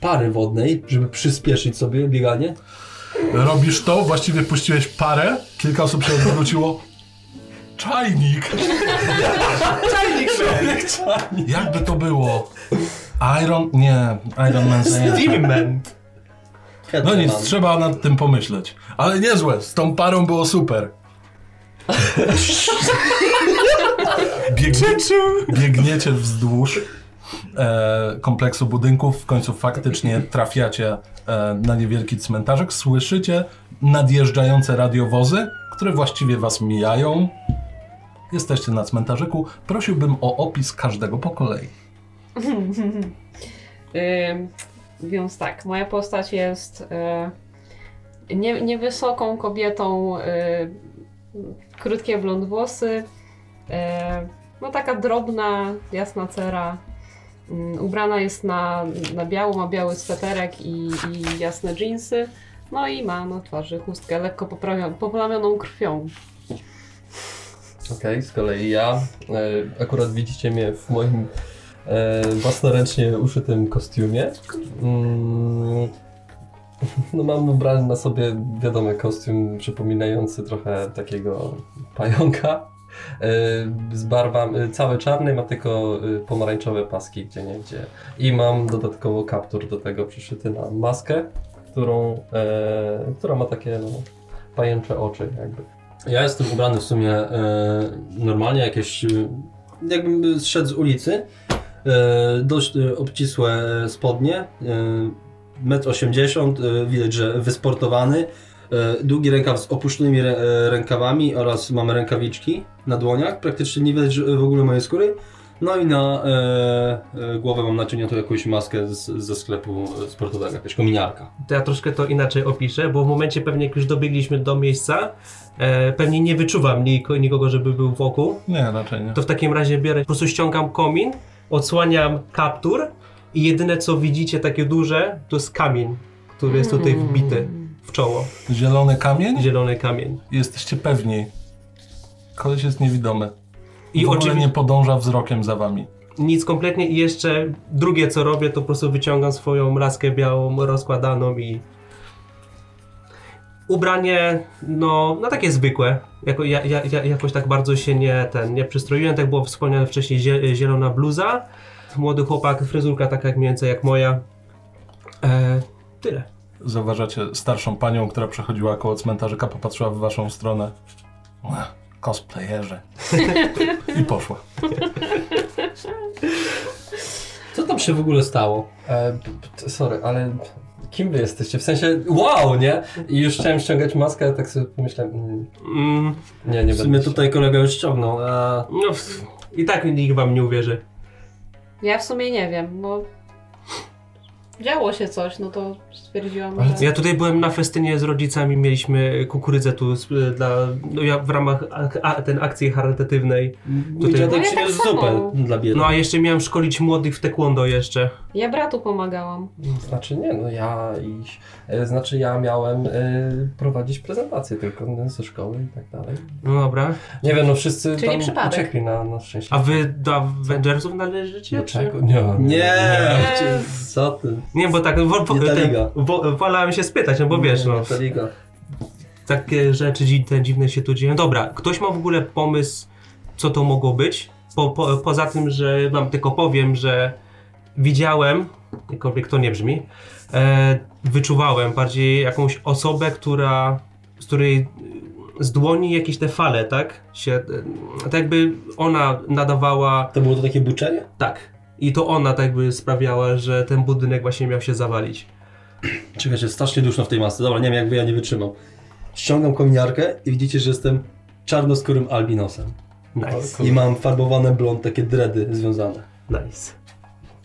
S3: pary wodnej, żeby przyspieszyć sobie bieganie?
S1: Robisz to, właściwie puściłeś parę, kilka osób się odwróciło. Czajnik! Czajnik, czajnik! Jakby to było? Iron... nie, Iron Man sobie nie...
S2: Steamman!
S1: No nic, trzeba nad tym pomyśleć. Ale niezłe, z tą parą było super. Biegnie, biegniecie wzdłuż e, kompleksu budynków, w końcu faktycznie trafiacie e, na niewielki cmentarzyk. Słyszycie nadjeżdżające radiowozy, które właściwie was mijają. Jesteście na cmentarzyku. Prosiłbym o opis każdego po kolei.
S5: Ym, więc tak, moja postać jest y, nie, niewysoką kobietą, y, krótkie blond włosy, y, no taka drobna, jasna cera. Ym, ubrana jest na, na biało, ma biały sweterek i, i jasne dżinsy. No i ma na twarzy chustkę lekko poprawio- poplamioną krwią.
S4: Okej, z kolei ja. E, akurat widzicie mnie w moim e, własnoręcznie uszytym kostiumie. Mm, no mam ubrany na sobie, wiadomo, kostium przypominający trochę takiego pająka. E, z barwami, e, całe czarne, ma tylko e, pomarańczowe paski gdzie nie gdzie. I mam dodatkowo kaptur do tego przyszyty na maskę, którą, e, która ma takie no, pajęcze oczy jakby.
S3: Ja jestem ubrany w sumie e, normalnie, jakieś... E, jakbym zszedł z ulicy. E, dość e, obcisłe spodnie. E, 1,80 m, e, widać, że wysportowany. E, długi rękaw z opuszczonymi rę, e, rękawami oraz mam rękawiczki na dłoniach. Praktycznie nie widać że- w ogóle mojej skóry. No i na e, e, głowę mam naciągniętą jakąś maskę z, ze sklepu e, sportowego, jakaś kominiarka.
S2: To ja troszkę to inaczej opiszę, bo w momencie pewnie jak już dobiegliśmy do miejsca, e, pewnie nie wyczuwam niko- nikogo, żeby był wokół.
S1: Nie, raczej nie.
S2: To w takim razie biorę, po prostu ściągam komin, odsłaniam kaptur i jedyne co widzicie takie duże, to jest kamień, który jest tutaj wbity w czoło.
S1: Zielony kamień?
S2: Zielony kamień.
S1: Jesteście pewni. Koleś jest niewidomy. I
S2: I
S1: w ogóle
S2: oczywiście
S1: nie podąża wzrokiem za wami.
S2: nic kompletnie i jeszcze drugie co robię, to po prostu wyciągam swoją laskę białą, rozkładaną i... Ubranie, no, no takie zwykłe. Jako, ja, ja, ja, jakoś tak bardzo się nie, ten, nie przystroiłem, tak było wspomniane wcześniej, zie, zielona bluza. chłopak, młody chłopak, fryzurka taka jak mniej więcej jak moja. E, tyle.
S1: Zauważacie starszą panią, która przechodziła koło cmentarzyka, popatrzyła w waszą stronę. Ech, Cosplayerzy. I poszła.
S3: Co tam się w ogóle stało?
S4: E, p- p- sorry, ale kim wy jesteście? W sensie, wow, nie? I już chciałem ściągać maskę, ale tak sobie pomyślałem, mm,
S2: Mm,
S4: nie, nie
S3: W sumie
S4: będę.
S3: tutaj kolega już ściągnął, a
S2: no, w- I tak nikt wam nie uwierzy.
S5: Ja w sumie nie wiem, bo działo się coś, no to stwierdziłam,
S4: Ale
S5: że...
S2: Ja tutaj byłem na festynie z rodzicami, mieliśmy kukurydzę tu z, dla, no ja w ramach ak, a, ten akcji charytatywnej.
S4: Mm,
S3: mój
S2: Tutaj-
S5: No
S3: dziadek
S5: ja tak
S3: przyniósł
S5: samo.
S3: zupę dla biedy.
S2: No a jeszcze miałem szkolić młodych w taekwondo jeszcze.
S5: Ja bratu pomagałam.
S4: Znaczy nie, no ja i... e, Znaczy ja miałem e, prowadzić prezentację tylko no, ze szkoły i tak dalej.
S2: No dobra.
S4: Nie wiem, no wszyscy
S5: Czyli
S4: tam
S5: przypadek.
S4: uciekli na, na szczęście. Tak.
S2: A wy do Avengersów należycie?
S3: No
S4: do
S3: tak.
S2: czy-
S4: czego? Nie.
S3: Nie, co ty?
S2: Nie, bo tak wo,
S3: Nie ta
S2: ten-
S3: liga.
S2: wo, wolałem się spytać, no bo wiesz,
S3: Nie,
S2: no,
S3: ta liga.
S2: takie rzeczy dzi- te dziwne się tu dzieją. Dobra, ktoś ma w ogóle pomysł, co to mogło być? Po, po, poza tym, że wam tylko powiem, że widziałem, jakkolwiek to nie brzmi, e, wyczuwałem bardziej jakąś osobę, która, z której z dłoni jakieś te fale, tak? Się, e, tak jakby ona nadawała,
S3: To było to takie buczenie?
S2: tak. I to ona tak jakby sprawiała, że ten budynek właśnie miał się zawalić.
S3: Czekajcie, strasznie duszno w tej masce. Dobra, nie wiem, jakby ja nie wytrzymał. Ściągam kominiarkę i widzicie, że jestem czarnoskórym albinosem.
S2: Nice,
S3: I mam farbowane blond, takie dredy związane.
S2: nice.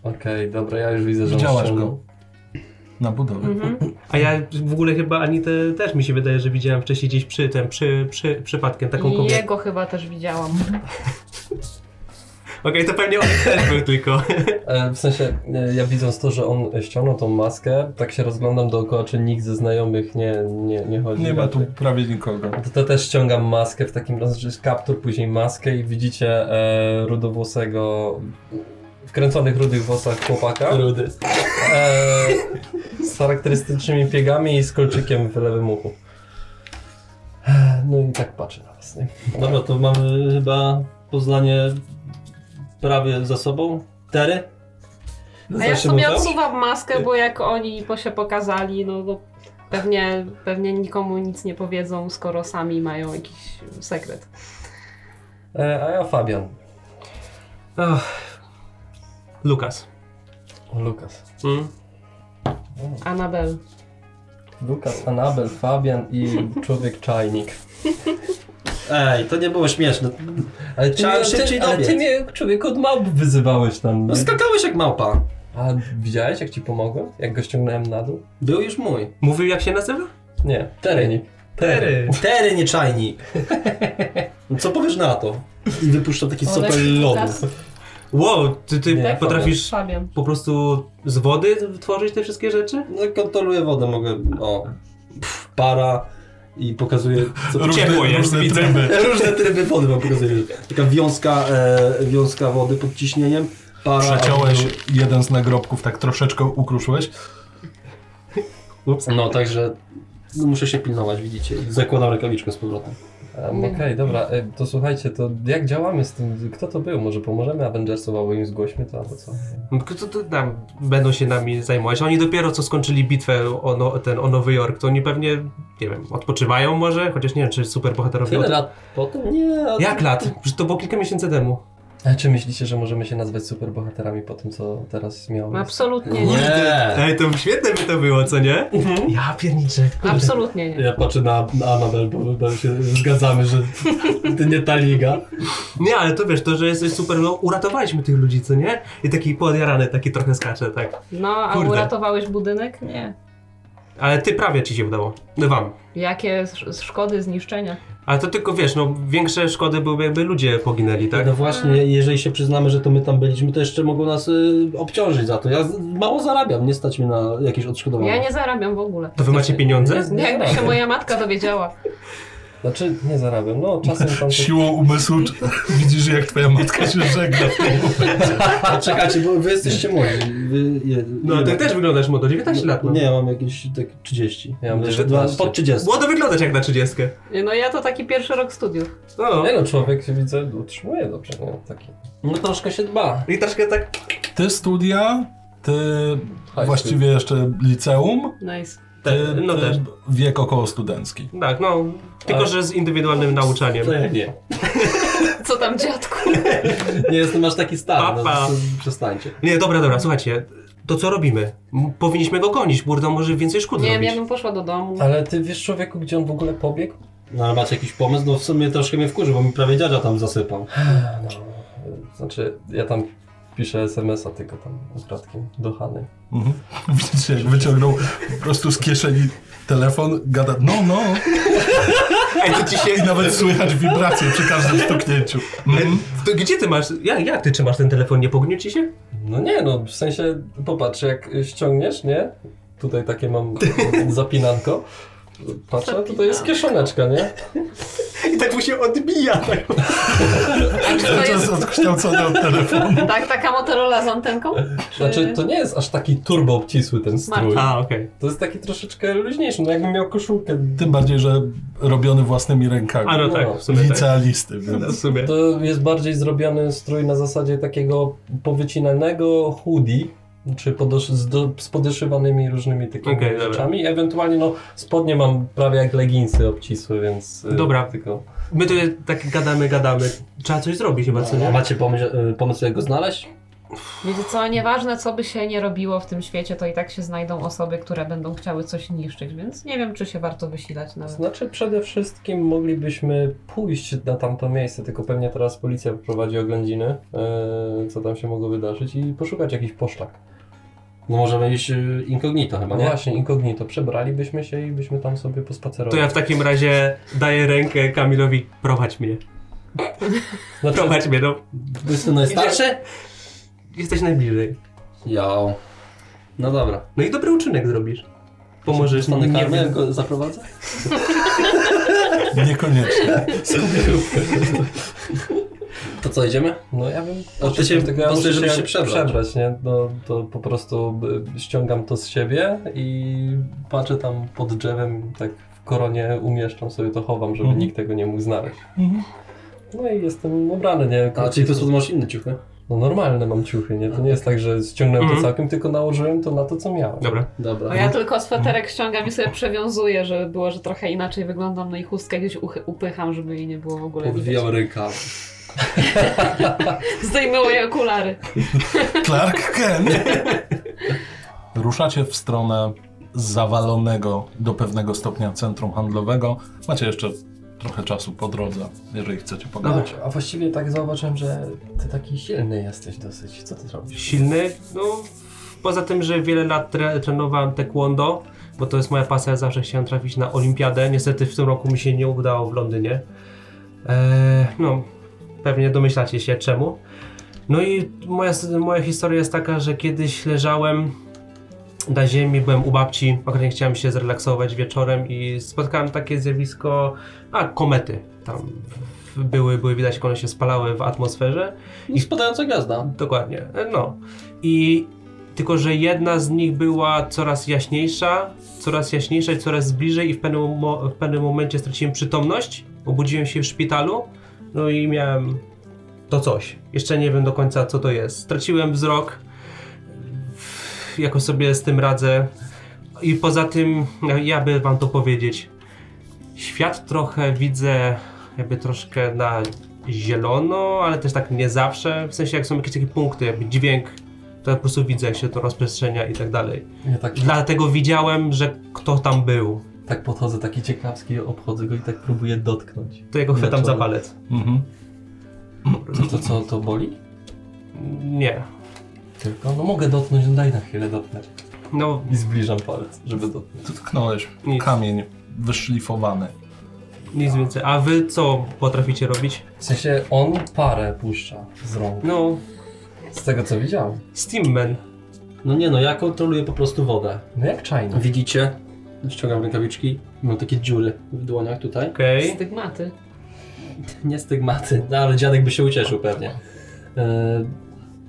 S4: Okej, dobra, ja już widzę, że on
S1: Widziałaś
S4: ściągnął.
S1: go. Na budowie.
S5: Mhm.
S2: A ja w ogóle chyba ani te, też mi się wydaje, że widziałem wcześniej gdzieś przy tym, przy, przy przypadkiem taką
S5: I
S2: kobietę.
S5: jego chyba też widziałam.
S2: Okej, to pewnie on też był tylko.
S4: E, W sensie, e, ja widząc to, że on ściągnął tą maskę, tak się rozglądam dookoła, czy nikt ze znajomych nie, nie, nie chodzi.
S1: Nie ma tu
S4: raczej.
S1: prawie nikogo.
S4: To, to też ściągam maskę w takim razie, że jest kaptur, później maskę i widzicie e, rudowłosego, wkręconych rudych włosach chłopaka
S3: Rudy.
S4: e, z charakterystycznymi piegami i z kolczykiem w lewym uchu. No i tak patrzę na was, nie?
S3: Dobra, to mamy chyba Poznanie prawie za sobą. Tery?
S5: A ja w
S3: Zawsze
S5: sumie
S3: mówią?
S5: odsuwam maskę, bo jak oni po się pokazali, no to pewnie, pewnie nikomu nic nie powiedzą, skoro sami mają jakiś sekret.
S4: E, a ja Fabian,
S2: Ach. Lukas.
S4: o, Lukas.
S2: Mm.
S5: Anabel.
S4: Lukas, Anabel, Fabian i człowiek czajnik.
S3: Ej, to nie było śmieszne.
S4: Ale ty,
S3: Chciałem
S4: mnie-
S3: szybciej
S4: ty, ale ty
S3: dobiec.
S4: mnie człowiek od małp wyzywałeś tam.
S3: No skakałeś jak małpa.
S4: A widziałeś jak ci pomogłem? Jak go ściągnąłem na dół?
S3: Był już mój.
S2: Mówił jak się nazywa?
S4: Nie, Terenik.
S2: Tery.
S3: Tery, nie czajnik. No co powiesz na to? I wypuszczam taki sopel lodu.
S2: Wow, ty, ty
S4: Nie,
S2: potrafisz
S5: Fabian.
S2: po prostu z wody tworzyć te wszystkie rzeczy?
S3: No i kontroluję wodę, mogę, o, pff, para i pokazuję, co
S2: Ciepło jest,
S1: różne
S2: widzę.
S1: tryby.
S3: Różne tryby wody wam pokazuję. Taka wiązka, e, wiązka wody pod ciśnieniem, para...
S1: Przeciąłeś jeden z nagrobków, tak troszeczkę ukruszyłeś.
S2: Ups.
S3: No, także no, muszę się pilnować, widzicie. I Zakładam rękawiczkę z powrotem.
S4: Um, Okej, dobra, e, to słuchajcie, to jak działamy z tym? Kto to był? Może pomożemy Avengersom albo im zgłośmy to albo co?
S2: No, To, to tam będą się nami zajmować. Oni dopiero co skończyli bitwę o, no, ten, o Nowy Jork, to oni pewnie, nie wiem, odpoczywają może? Chociaż nie wiem, czy super bohaterowie.
S3: Tyle lat potem? Nie, a-
S2: Jak lat? Przecież to było kilka miesięcy temu.
S4: A czy myślicie, że możemy się nazwać superbohaterami po tym, co teraz miało miejsce?
S5: Absolutnie nie.
S3: Nie.
S2: Ej, to świetne by to było, co nie? Ja pierniczę.
S5: Absolutnie nie.
S3: Ja patrzę na, na Anabel, bo chyba się zgadzamy, że to nie ta liga.
S2: Nie, ale to wiesz, to, że jesteś super, no uratowaliśmy tych ludzi, co nie? I taki podjarany, taki trochę skacze, tak.
S5: No, a
S2: Kurde.
S5: uratowałeś budynek? Nie.
S2: Ale ty prawie ci się udało. No wam.
S5: Jakie sz- szkody, zniszczenia?
S2: Ale to tylko wiesz, no większe szkody byłyby jakby ludzie poginęli, tak?
S3: No właśnie, jeżeli się przyznamy, że to my tam byliśmy, to jeszcze mogą nas y, obciążyć za to. Ja z- mało zarabiam, nie stać mi na jakieś odszkodowanie.
S5: Ja nie zarabiam w ogóle.
S2: To wy macie pieniądze?
S4: Nie, nie
S5: Jakby się
S4: zarabiam.
S5: moja matka dowiedziała.
S4: Znaczy, nie zarabiam, no czasem tam... To...
S1: Siłą umysłu czy- widzisz, jak twoja matka się żegna.
S3: A czekajcie, bo wy jesteście młodzi. Wy, je,
S2: No
S3: ile
S2: ty
S3: macie?
S2: też wyglądasz młodo, 19 lat no. mam.
S3: Nie, ja mam jakieś tak 30.
S4: Ja mam
S3: Jeszcze
S4: 19.
S3: Pod 30.
S2: Młodo wyglądasz jak na 30.
S5: No ja to taki pierwszy rok studiów.
S2: No.
S4: Nie no, człowiek się widzę, utrzymuje dobrze, nie? Taki.
S3: No troszkę się dba.
S2: I troszkę tak...
S1: Ty studia, ty
S4: High
S1: właściwie jeszcze liceum,
S5: Nice.
S1: ty,
S2: no
S1: ty
S2: też.
S1: wiek około studencki.
S2: Tak, no. Tylko,
S4: Ale-
S2: że z indywidualnym nauczaniem.
S3: To ja nie.
S5: Co tam dziadku?
S3: Nie jestem aż taki stary.
S2: Papa.
S3: No, przestańcie.
S2: Nie, dobra, dobra, słuchajcie. To co robimy? M- Powinniśmy go gonić, burda może więcej szkód
S5: Nie wiem,
S2: zrobić.
S5: ja bym poszła do domu.
S4: Ale ty wiesz człowieku, gdzie on w ogóle pobiegł?
S3: No ale macie jakiś pomysł? No w sumie troszkę mnie wkurzy, bo mi prawie dziadzia tam zasypał.
S4: No, znaczy, ja tam piszę SMS-a tylko tam ukradkiem do Hany.
S1: Mhm. Widzicie, jak wyciągnął po prostu z kieszeni telefon, gada no, no
S2: Ej, to ci
S1: i
S2: się...
S1: nawet słychać wibracje przy każdym stuknięciu. Mhm.
S2: To gdzie ty masz... Ja, jak ty trzymasz ten telefon? Nie pognił ci się?
S4: No nie no, w sensie, popatrz, jak ściągniesz, nie? Tutaj takie mam zapinanko. Patrzę, tutaj jest kieszoneczka, nie?
S2: I tak mu się odbija. Tak.
S5: To
S1: To jest
S5: jest...
S1: odkształcony od telefonu.
S5: Tak, taka Motorola z antenką? Czy...
S4: Znaczy, to nie jest aż taki turbo obcisły ten strój.
S2: A, okej.
S4: To jest taki troszeczkę luźniejszy, no jakbym miał koszulkę.
S1: Tym bardziej, że robiony własnymi rękami.
S2: A no tak, w sumie tak.
S1: Licealisty,
S2: No, W
S1: więc
S2: sumie.
S4: To jest bardziej zrobiony strój na zasadzie takiego powycinanego hoodie, czy podosz- z, do- z podyszywanymi różnymi takimi
S2: Okej, dobra.
S4: rzeczami. Ewentualnie no, spodnie mam prawie jak leginsy obcisłe, więc... y,
S2: Dobra.
S4: Tylko...
S2: My tu tak gadamy, gadamy. Trzeba coś zrobić chyba, co
S3: A
S2: nie?
S3: macie pomysł, y, pomysł jak go znaleźć?
S5: Wiecie co, nieważne co by się nie robiło w tym świecie, to i tak się znajdą osoby, które będą chciały coś niszczyć, więc nie wiem, czy się warto wysilać nawet.
S4: Znaczy przede wszystkim moglibyśmy pójść na tamto miejsce, tylko pewnie teraz policja prowadzi oględziny, y, co tam się mogło wydarzyć i poszukać jakiś poszlak.
S3: No możemy iść y, incognito chyba,
S4: No
S3: nie?
S4: właśnie, inkognito, przebralibyśmy się i byśmy tam sobie pospacerowali.
S2: To ja w takim razie daję rękę Kamilowi, prowadź mnie.
S4: Znaczy,
S2: Prowadź mnie, no.
S3: Jestem najstarszy?
S2: Jesteś najbliżej.
S3: Jo. No dobra.
S2: No i dobry uczynek zrobisz. Pomożesz
S3: Stanę
S2: mi.
S3: karmę, go zaprowadzę?
S1: niekoniecznie.
S3: To co, idziemy?
S4: No ja bym...
S3: A ty się
S4: tylko ja
S3: pasuje,
S4: muszę
S3: żeby się przebrać.
S4: przebrać, nie? No, to po prostu y, ściągam to z siebie i patrzę tam pod drzewem, tak w koronie umieszczam sobie to, chowam, żeby
S1: Mhm.
S4: nikt tego nie mógł znaleźć. No i jestem ubrany, nie?
S3: A czyli po prostu masz inne ciuchy?
S4: No normalne mam ciuchy, nie? To nie jest tak, że ściągnąłem
S2: Mhm.
S4: to całkiem, tylko nałożyłem to na to, co miałem.
S2: Dobra.
S5: No
S3: Dobra.
S5: ja tylko sweterek ściągam i sobie przewiązuję, żeby było, że trochę inaczej wyglądam, no i chustkę gdzieś uchy- upycham, żeby jej nie było w ogóle widać.
S3: Odwijam rękawy.
S5: Zdejmę moje okulary.
S1: Clark Kent. Ruszacie w stronę zawalonego do pewnego stopnia centrum handlowego. Macie jeszcze trochę czasu po drodze, jeżeli chcecie pogadać.
S4: No, A właściwie tak zauważyłem, że ty taki silny jesteś dosyć. Co ty robisz?
S2: Silny, no. Poza tym, że wiele lat tre trenowałem taekwondo, bo to jest moja pasja, zawsze chciałem trafić na olimpiadę. Niestety w tym roku mi się nie udało w Londynie. Eee, no, pewnie domyślacie się czemu. No i moja, moja historia jest taka, że kiedyś leżałem na ziemi, byłem u babci, akurat nie chciałem się zrelaksować wieczorem i spotkałem takie zjawisko, a komety tam były, były widać, jak one się spalały w atmosferze.
S3: I spadająca gwiazda.
S2: Dokładnie, no. I tylko, że jedna z nich była coraz jaśniejsza, coraz jaśniejsza i coraz bliżej i w pewnym, mo- w pewnym momencie straciłem przytomność, obudziłem się w szpitalu, no i miałem to coś. Jeszcze nie wiem do końca, co to jest. Straciłem wzrok, jakoś sobie z tym radzę. I poza tym, ja- ja by wam to powiedzieć, świat trochę widzę jakby troszkę na zielono, ale też tak nie zawsze, w sensie jak są jakieś takie punkty, jakby dźwięk, to ja po prostu widzę jak się to rozprzestrzenia i tak dalej.
S4: Ja tak,
S2: Dlatego widziałem, że kto tam był,
S4: tak podchodzę, taki ciekawski, obchodzę go i tak próbuję dotknąć.
S2: to ja go chwytam za
S4: Dlaczego?
S2: palec.
S1: Mhm.
S4: To co, to boli?
S2: Nie,
S4: Tylko, no mogę dotknąć, no daj na chwilę dotknąć.
S2: no
S4: I zbliżam palec, żeby dotknąć.
S1: Tu tknąłeś
S2: Nic.
S1: kamień wyszlifowany.
S2: nic więcej. A wy co potraficie robić?
S4: W sensie, on parę puszcza z rąk.
S2: No,
S4: Z tego, co widziałem.
S2: Steamman.
S3: No nie no, ja kontroluję po prostu wodę.
S4: No jak czajnik.
S3: Widzicie? Ściągam rękawiczki. Mam takie dziury w dłoniach tutaj.
S2: Okej.
S5: Stygmaty.
S3: Nie stygmaty, no ale dziadek by się ucieszył pewnie. E,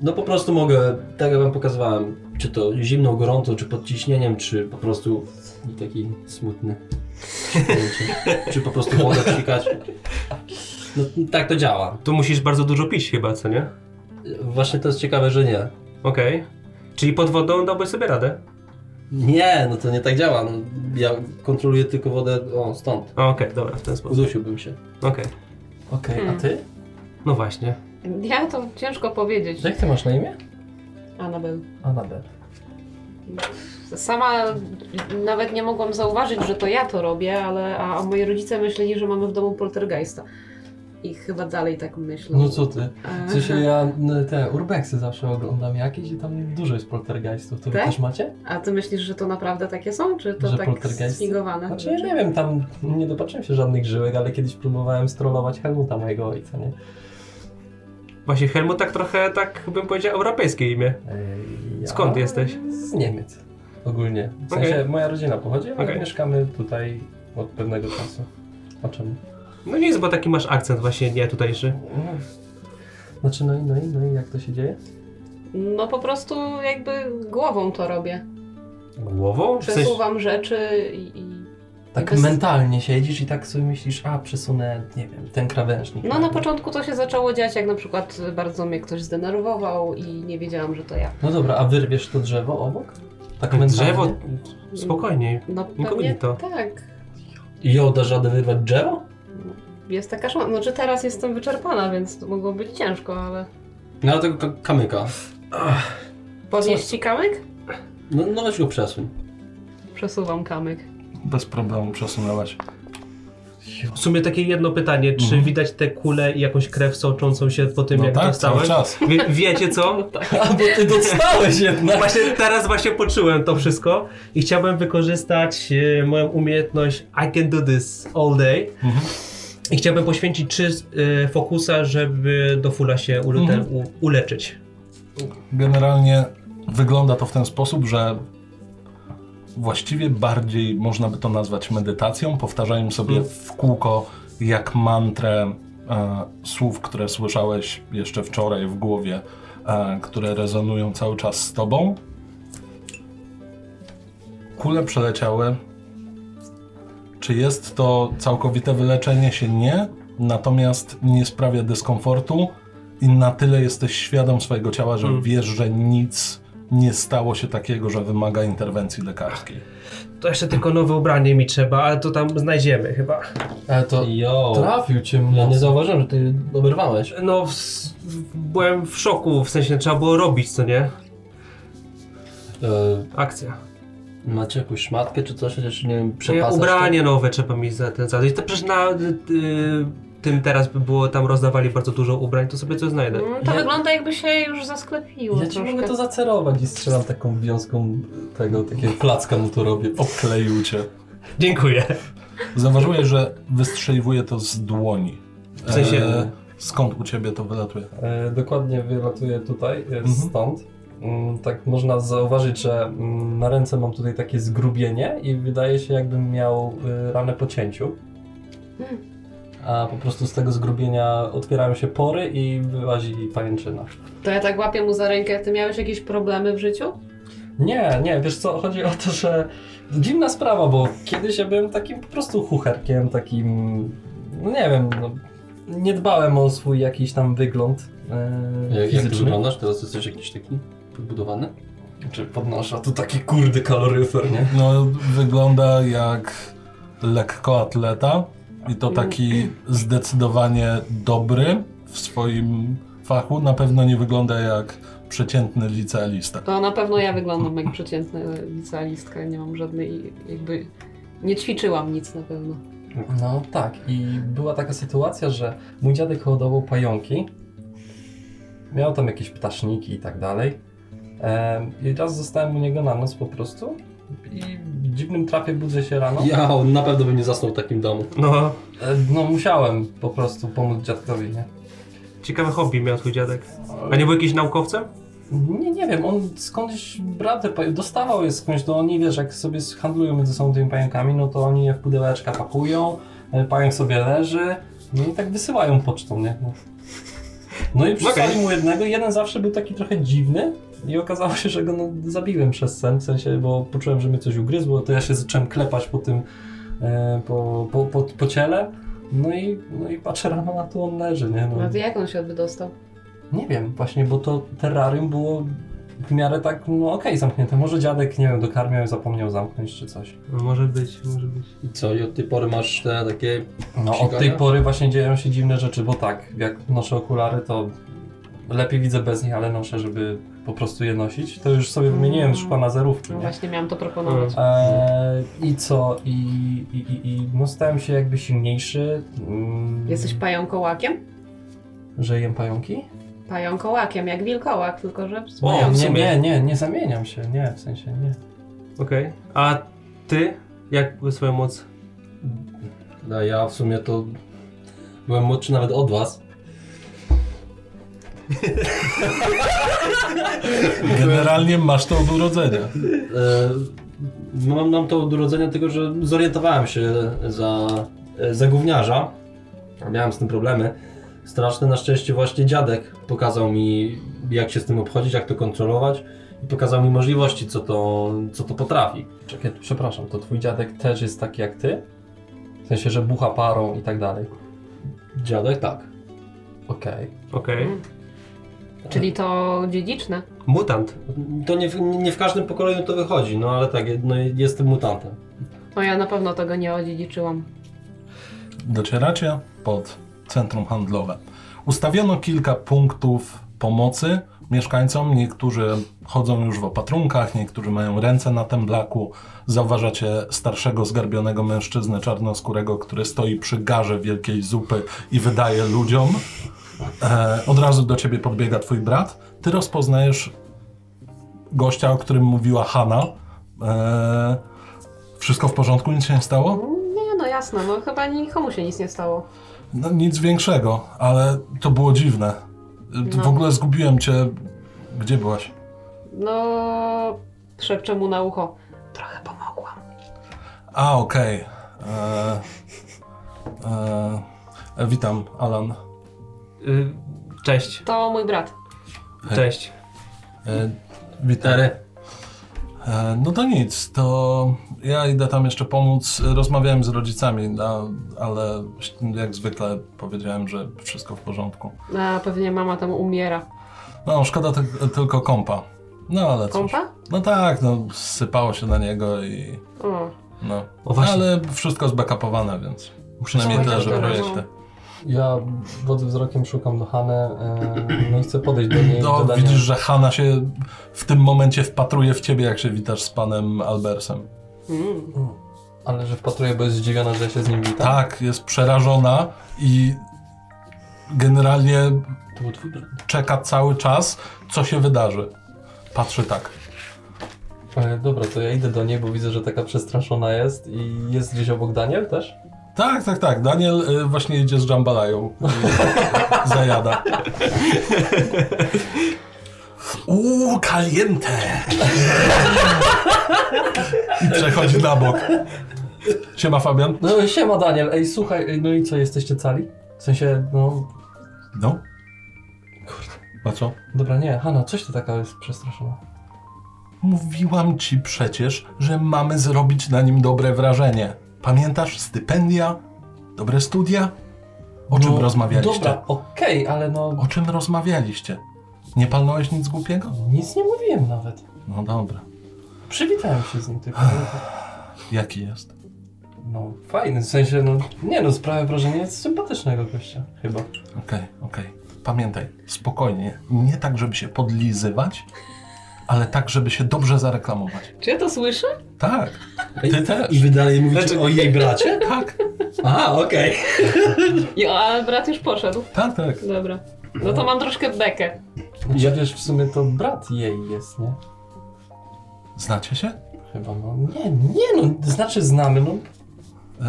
S3: No po prostu mogę, tak jak wam pokazywałem, czy to zimną, gorąco, czy pod ciśnieniem, czy po prostu taki smutny. czy po prostu wodę psikać. No tak to działa.
S2: Tu musisz bardzo dużo pić chyba, co nie?
S3: Właśnie to jest ciekawe, że nie.
S2: Okej. Czyli pod wodą dałby sobie radę.
S3: Nie, no to nie tak działa. No, ja kontroluję tylko wodę o, stąd.
S2: Okej, dobra, w ten sposób.
S3: Udusiłbym się.
S2: Okej.
S4: Okej,
S5: Hmm.
S4: a ty?
S2: No właśnie.
S5: Ja to ciężko powiedzieć.
S4: Jak ty masz na imię?
S5: Anabel.
S4: Anabel.
S5: Sama nawet nie mogłam zauważyć, że to ja to robię, ale a, a moi rodzice myśleli, że mamy w domu poltergeista. I chyba dalej tak myślą.
S4: No co ty?
S5: E,
S4: W sensie ja n- te urbexy zawsze oglądam jakieś i tam dużo jest poltergeistów. To wy
S5: Tak?
S4: też macie?
S5: A ty myślisz, że to naprawdę takie są? Czy to
S4: Że
S5: tak
S4: poltergeisty?
S5: sfingowane?
S4: Znaczy ja nie wiem, tam nie dopatrzyłem się żadnych żyłek, ale kiedyś próbowałem strollować Helmuta mojego ojca, nie?
S2: Właśnie Helmut tak trochę, tak bym powiedział, europejskie imię.
S4: Ej, ja-
S2: Skąd jesteś?
S4: Z Niemiec. Ogólnie. W sensie
S2: Okej.
S4: moja rodzina pochodzi, ale
S2: Okej.
S4: mieszkamy tutaj od pewnego czasu. O czym?
S2: No nic, bo taki masz akcent właśnie nie tutejszy.
S4: No. Znaczy, no i, no i, no i jak to się dzieje?
S5: No po prostu jakby głową to robię.
S2: Głową? W sensie-
S5: Przesuwam rzeczy i... i...
S4: Tak
S5: Bez-
S4: mentalnie siedzisz i tak sobie myślisz, a przesunę, nie wiem, ten krawężnik.
S5: No na początku to się zaczęło dziać, jak na przykład bardzo mnie ktoś zdenerwował i nie wiedziałam, że to ja.
S4: No dobra, a wyrwiesz to drzewo obok? Tak mentalnie?
S2: Drzewo? Spokojnie.
S5: No pewnie
S2: Inkognito.
S5: tak. No,
S3: Jo, dasz radę wyrwać drzewo?
S5: Jest taka szansa. Znaczy teraz jestem wyczerpana, więc to mogło być ciężko, ale...
S3: No ale tego ka- kamyka.
S5: Podnieść ci kamyk?
S3: No, no weź go przesuń.
S5: Przesuwam kamyk.
S1: Bez problemu przesunęłaś.
S2: W sumie takie jedno pytanie, czy
S1: Mhm.
S2: widać te kule i jakąś krew sączącą się po tym,
S1: No
S2: jak
S1: tak, cały
S2: dostałeś?
S1: czas.
S2: Wie, wiecie co?
S3: A, bo ty dostałeś jednak!
S2: Właśnie teraz właśnie poczułem to wszystko i chciałbym wykorzystać e, moją umiejętność I can do this all day. I chciałbym poświęcić trzy e, fokusa, żeby do fula się ule,
S1: Mhm.
S2: u, uleczyć.
S1: Generalnie wygląda to w ten sposób, że właściwie bardziej można by to nazwać medytacją. Powtarzają sobie w kółko jak mantrę e, słów, które słyszałeś jeszcze wczoraj w głowie, e, które rezonują cały czas z tobą. Kule przeleciały. Czy jest to całkowite wyleczenie się? Nie. Natomiast nie sprawia dyskomfortu i na tyle jesteś świadom swojego ciała, że
S2: Hmm.
S1: wiesz, że nic nie stało się takiego, że wymaga interwencji lekarskiej.
S2: To jeszcze tylko nowe ubranie mi trzeba, ale to tam znajdziemy chyba.
S4: Ale E, to
S3: Jo.
S4: trafił cię
S3: Ja nie
S4: mocno.
S3: zauważyłem, że ty oberwałeś.
S2: No, w, w, byłem w szoku, w sensie trzeba było robić, co nie?
S3: E,
S2: Akcja.
S3: macie jakąś szmatkę czy coś? Chociaż nie
S5: No
S3: wiem,
S2: Ja
S3: przepasasz
S2: ubranie nowe trzeba mi za ten zadać. To przecież na y, y, tym teraz by było, tam rozdawali bardzo dużo ubrań, to sobie coś znajdę.
S5: Mm, To
S4: Ja-
S5: wygląda jakby się już zasklepiło
S4: Ja ci
S5: No, troszkę.
S4: mogę to zacerować i strzelam taką wiązką tego, takiego placka mu tu robię.
S1: Obkleił cię.
S2: Dziękuję.
S1: Zauważyłeś, że wystrzeliwuje to z dłoni. E,
S2: W sensie-
S1: skąd u ciebie to wylatuje?
S4: E, Dokładnie wylatuje tutaj, e,
S1: Mhm.
S4: stąd. Mm, Tak można zauważyć, że mm, na ręce mam tutaj takie zgrubienie i wydaje się jakbym miał e, ranę po cięciu. A po prostu z tego zgrubienia otwierają się pory i wyłazi pajęczyna.
S5: To ja tak łapię mu za rękę. Ty miałeś jakieś problemy w życiu?
S4: Nie, nie, wiesz co, chodzi o to, że dziwna sprawa, bo kiedyś ja byłem takim po prostu chucherkiem, takim, no nie wiem, no, nie dbałem o swój jakiś tam wygląd
S3: Jak,
S4: e,
S3: jak ty
S4: fizyczny.
S3: wyglądasz? Teraz jesteś jakiś taki podbudowany?
S4: Czy podnoszę, a tu taki kurde kaloryfer, nie?
S1: No, wygląda jak lekkoatleta i to taki zdecydowanie dobry w swoim fachu. Na pewno nie wygląda jak przeciętny licealista.
S5: To na pewno ja wyglądam jak przeciętna licealistka. Nie mam żadnej jakby... Nie ćwiczyłam nic na pewno.
S4: No tak, i była taka sytuacja, że mój dziadek hodował pająki. Miał tam jakieś ptaszniki i tak dalej. Em, I raz zostałem u niego na noc po prostu. I w dziwnym trafie budzę się rano.
S3: Ja, on na pewno bym nie zasnął w takim domu.
S2: No,
S4: E, No musiałem po prostu pomóc dziadkowi, nie?
S2: ciekawe hobby miał twój dziadek. A nie był jakiś naukowcem?
S4: Nie, nie wiem, on skądś brał te pająki, dostawał je skądś, to oni, wiesz, jak sobie handlują między sobą tymi pająkami, no to oni je w pudełeczka pakują, e, pająk sobie leży, no i tak wysyłają pocztą, nie? No, no i przysłali
S2: Okej.
S4: mu jednego, jeden zawsze był taki trochę dziwny i okazało się, że go no, zabiłem przez sen, w sensie, bo poczułem, że mnie coś ugryzło, to ja się zacząłem klepać po tym, e, po, po, po, po ciele, no i, no i patrzę rano na to, on leży, nie? No.
S5: No to jak on się wydostał?
S4: Nie wiem, właśnie, bo to terrarium było w miarę tak, no okej, zamknięte. Może dziadek, nie wiem, dokarmiał i zapomniał zamknąć czy coś.
S2: No, Może być, może być.
S3: I co, i od tej pory masz te takie...
S4: No od
S3: Psikania?
S4: tej pory właśnie dzieją się dziwne rzeczy, bo tak, jak noszę okulary, to lepiej widzę bez nich, ale noszę, żeby po prostu je nosić. To już sobie wymieniłem już pana zerówki,
S5: No
S4: nie?
S5: właśnie miałam to proponować.
S4: Eee, I co? I, i, i, i no stałem się jakby silniejszy. Mm,
S5: Jesteś pająkołakiem?
S4: Że jem pająki?
S5: Pająkołakiem, jak wilkołak, tylko że z
S2: O,
S4: O,
S5: pająkiem.
S2: w
S4: nie,
S2: sumie.
S4: nie, nie, nie zamieniam się, nie, w sensie nie.
S2: Okej. A ty? Jak swoją moc?
S3: No ja w sumie to byłem młodszy nawet od was.
S1: Generalnie masz to od urodzenia.
S3: E, mam, mam to od urodzenia, tylko że zorientowałem się za, e, za gówniarza. Miałem z tym problemy. Straszne, na szczęście właśnie dziadek pokazał mi, jak się z tym obchodzić, jak to kontrolować i pokazał mi możliwości, co to, co to potrafi.
S4: Czekaj, przepraszam, to twój dziadek też jest taki jak ty? W sensie, że bucha parą i tak dalej.
S3: Dziadek tak.
S4: Okej.
S2: Okej.
S4: no.
S5: Czyli to dziedziczne.
S2: Mutant.
S3: To nie w, nie w każdym pokoleniu to wychodzi, no ale tak, no, jestem mutantem.
S5: No ja na pewno tego nie odziedziczyłam.
S1: Docieracie pod centrum handlowe. Ustawiono kilka punktów pomocy mieszkańcom. Niektórzy chodzą już w opatrunkach, niektórzy mają ręce na temblaku. Zauważacie starszego, zgarbionego mężczyznę czarnoskórego, który stoi przy garze wielkiej zupy i wydaje ludziom. E, od razu do ciebie podbiega twój brat. Ty rozpoznajesz gościa, o którym mówiła Hanna. E, wszystko w porządku? Nic się nie stało?
S5: Nie, no jasne, no chyba nikomu się nic nie stało.
S1: No, nic większego, ale to było dziwne. Y,
S5: No.
S1: W ogóle zgubiłem cię. Gdzie byłaś?
S5: No, szepczę mu na ucho. Trochę pomogłam.
S1: A, okej. E, e, e, witam, Alan.
S2: Y, cześć.
S5: To mój brat.
S2: Cześć.
S1: E, witam. E, no to nic, to ja idę tam jeszcze pomóc. Rozmawiałem z rodzicami, no, ale jak zwykle powiedziałem, że wszystko w porządku.
S5: A pewnie mama tam umiera.
S1: No, szkoda ty- tylko kompa. No ale cóż.
S5: Kompa?
S1: No tak, no sypało się na niego i...
S5: O,
S1: No.
S2: O, właśnie.
S1: Ale wszystko zbackupowane, więc przynajmniej
S5: No,
S1: te, że
S5: no, no.
S1: projekty.
S4: Ja wody wzrokiem szukam do Hany, e, no i chcę podejść do niej.
S1: No,
S4: dodania-
S1: widzisz, że Hanna się w tym momencie wpatruje w ciebie, jak się witasz z panem Albersem.
S5: mm.
S4: Ale że wpatruję, bo jest zdziwiona, że ja się z nim witam.
S1: Tak, jest przerażona i generalnie
S4: To był twój brat.
S1: czeka cały czas, co się wydarzy. Patrzy tak.
S4: E, dobra, to ja idę do niej, bo widzę, że taka przestraszona jest i jest gdzieś obok Daniel też?
S1: Tak, tak, tak. Daniel y, właśnie idzie z jambalają. i Zajada. Uuu, kaliente! I przechodzi na bok. Siema, Fabian.
S4: No siema Daniel, ej słuchaj, ej, no i co, jesteście cali? W sensie, no...
S1: No. A co?
S4: Dobra, nie, Hanna, coś ty taka jest przestraszona.
S1: Mówiłam ci przecież, że mamy zrobić na nim dobre wrażenie. Pamiętasz stypendia? Dobre studia? O czym
S4: No,
S1: rozmawialiście?
S4: Dobra, okej, ale no...
S1: O czym rozmawialiście? Nie palnąłeś nic głupiego?
S4: Nic nie mówiłem nawet.
S1: No dobra.
S4: Przywitałem się z nim tylko.
S1: Jaki jest?
S4: No fajny, w sensie, no nie no, sprawia wrażenie sympatycznego gościa, chyba. Znaczy,
S1: Okej, okej. Pamiętaj, spokojnie. Nie tak, żeby się podlizywać, ale tak, żeby się dobrze zareklamować.
S5: Czy ja to słyszę?
S1: Tak, Ty też.
S3: I wy dalej mówicie
S2: Znaczy-
S3: o jej bracie?
S1: tak,
S3: Aha, okej.
S5: Jo, a brat już poszedł.
S1: tak, tak.
S5: Dobra. No to mam troszkę bekę.
S4: Znaczy, ja wiesz, w sumie to brat jej jest, nie?
S1: Znacie się?
S4: Chyba, no nie, nie no, znaczy znamy, no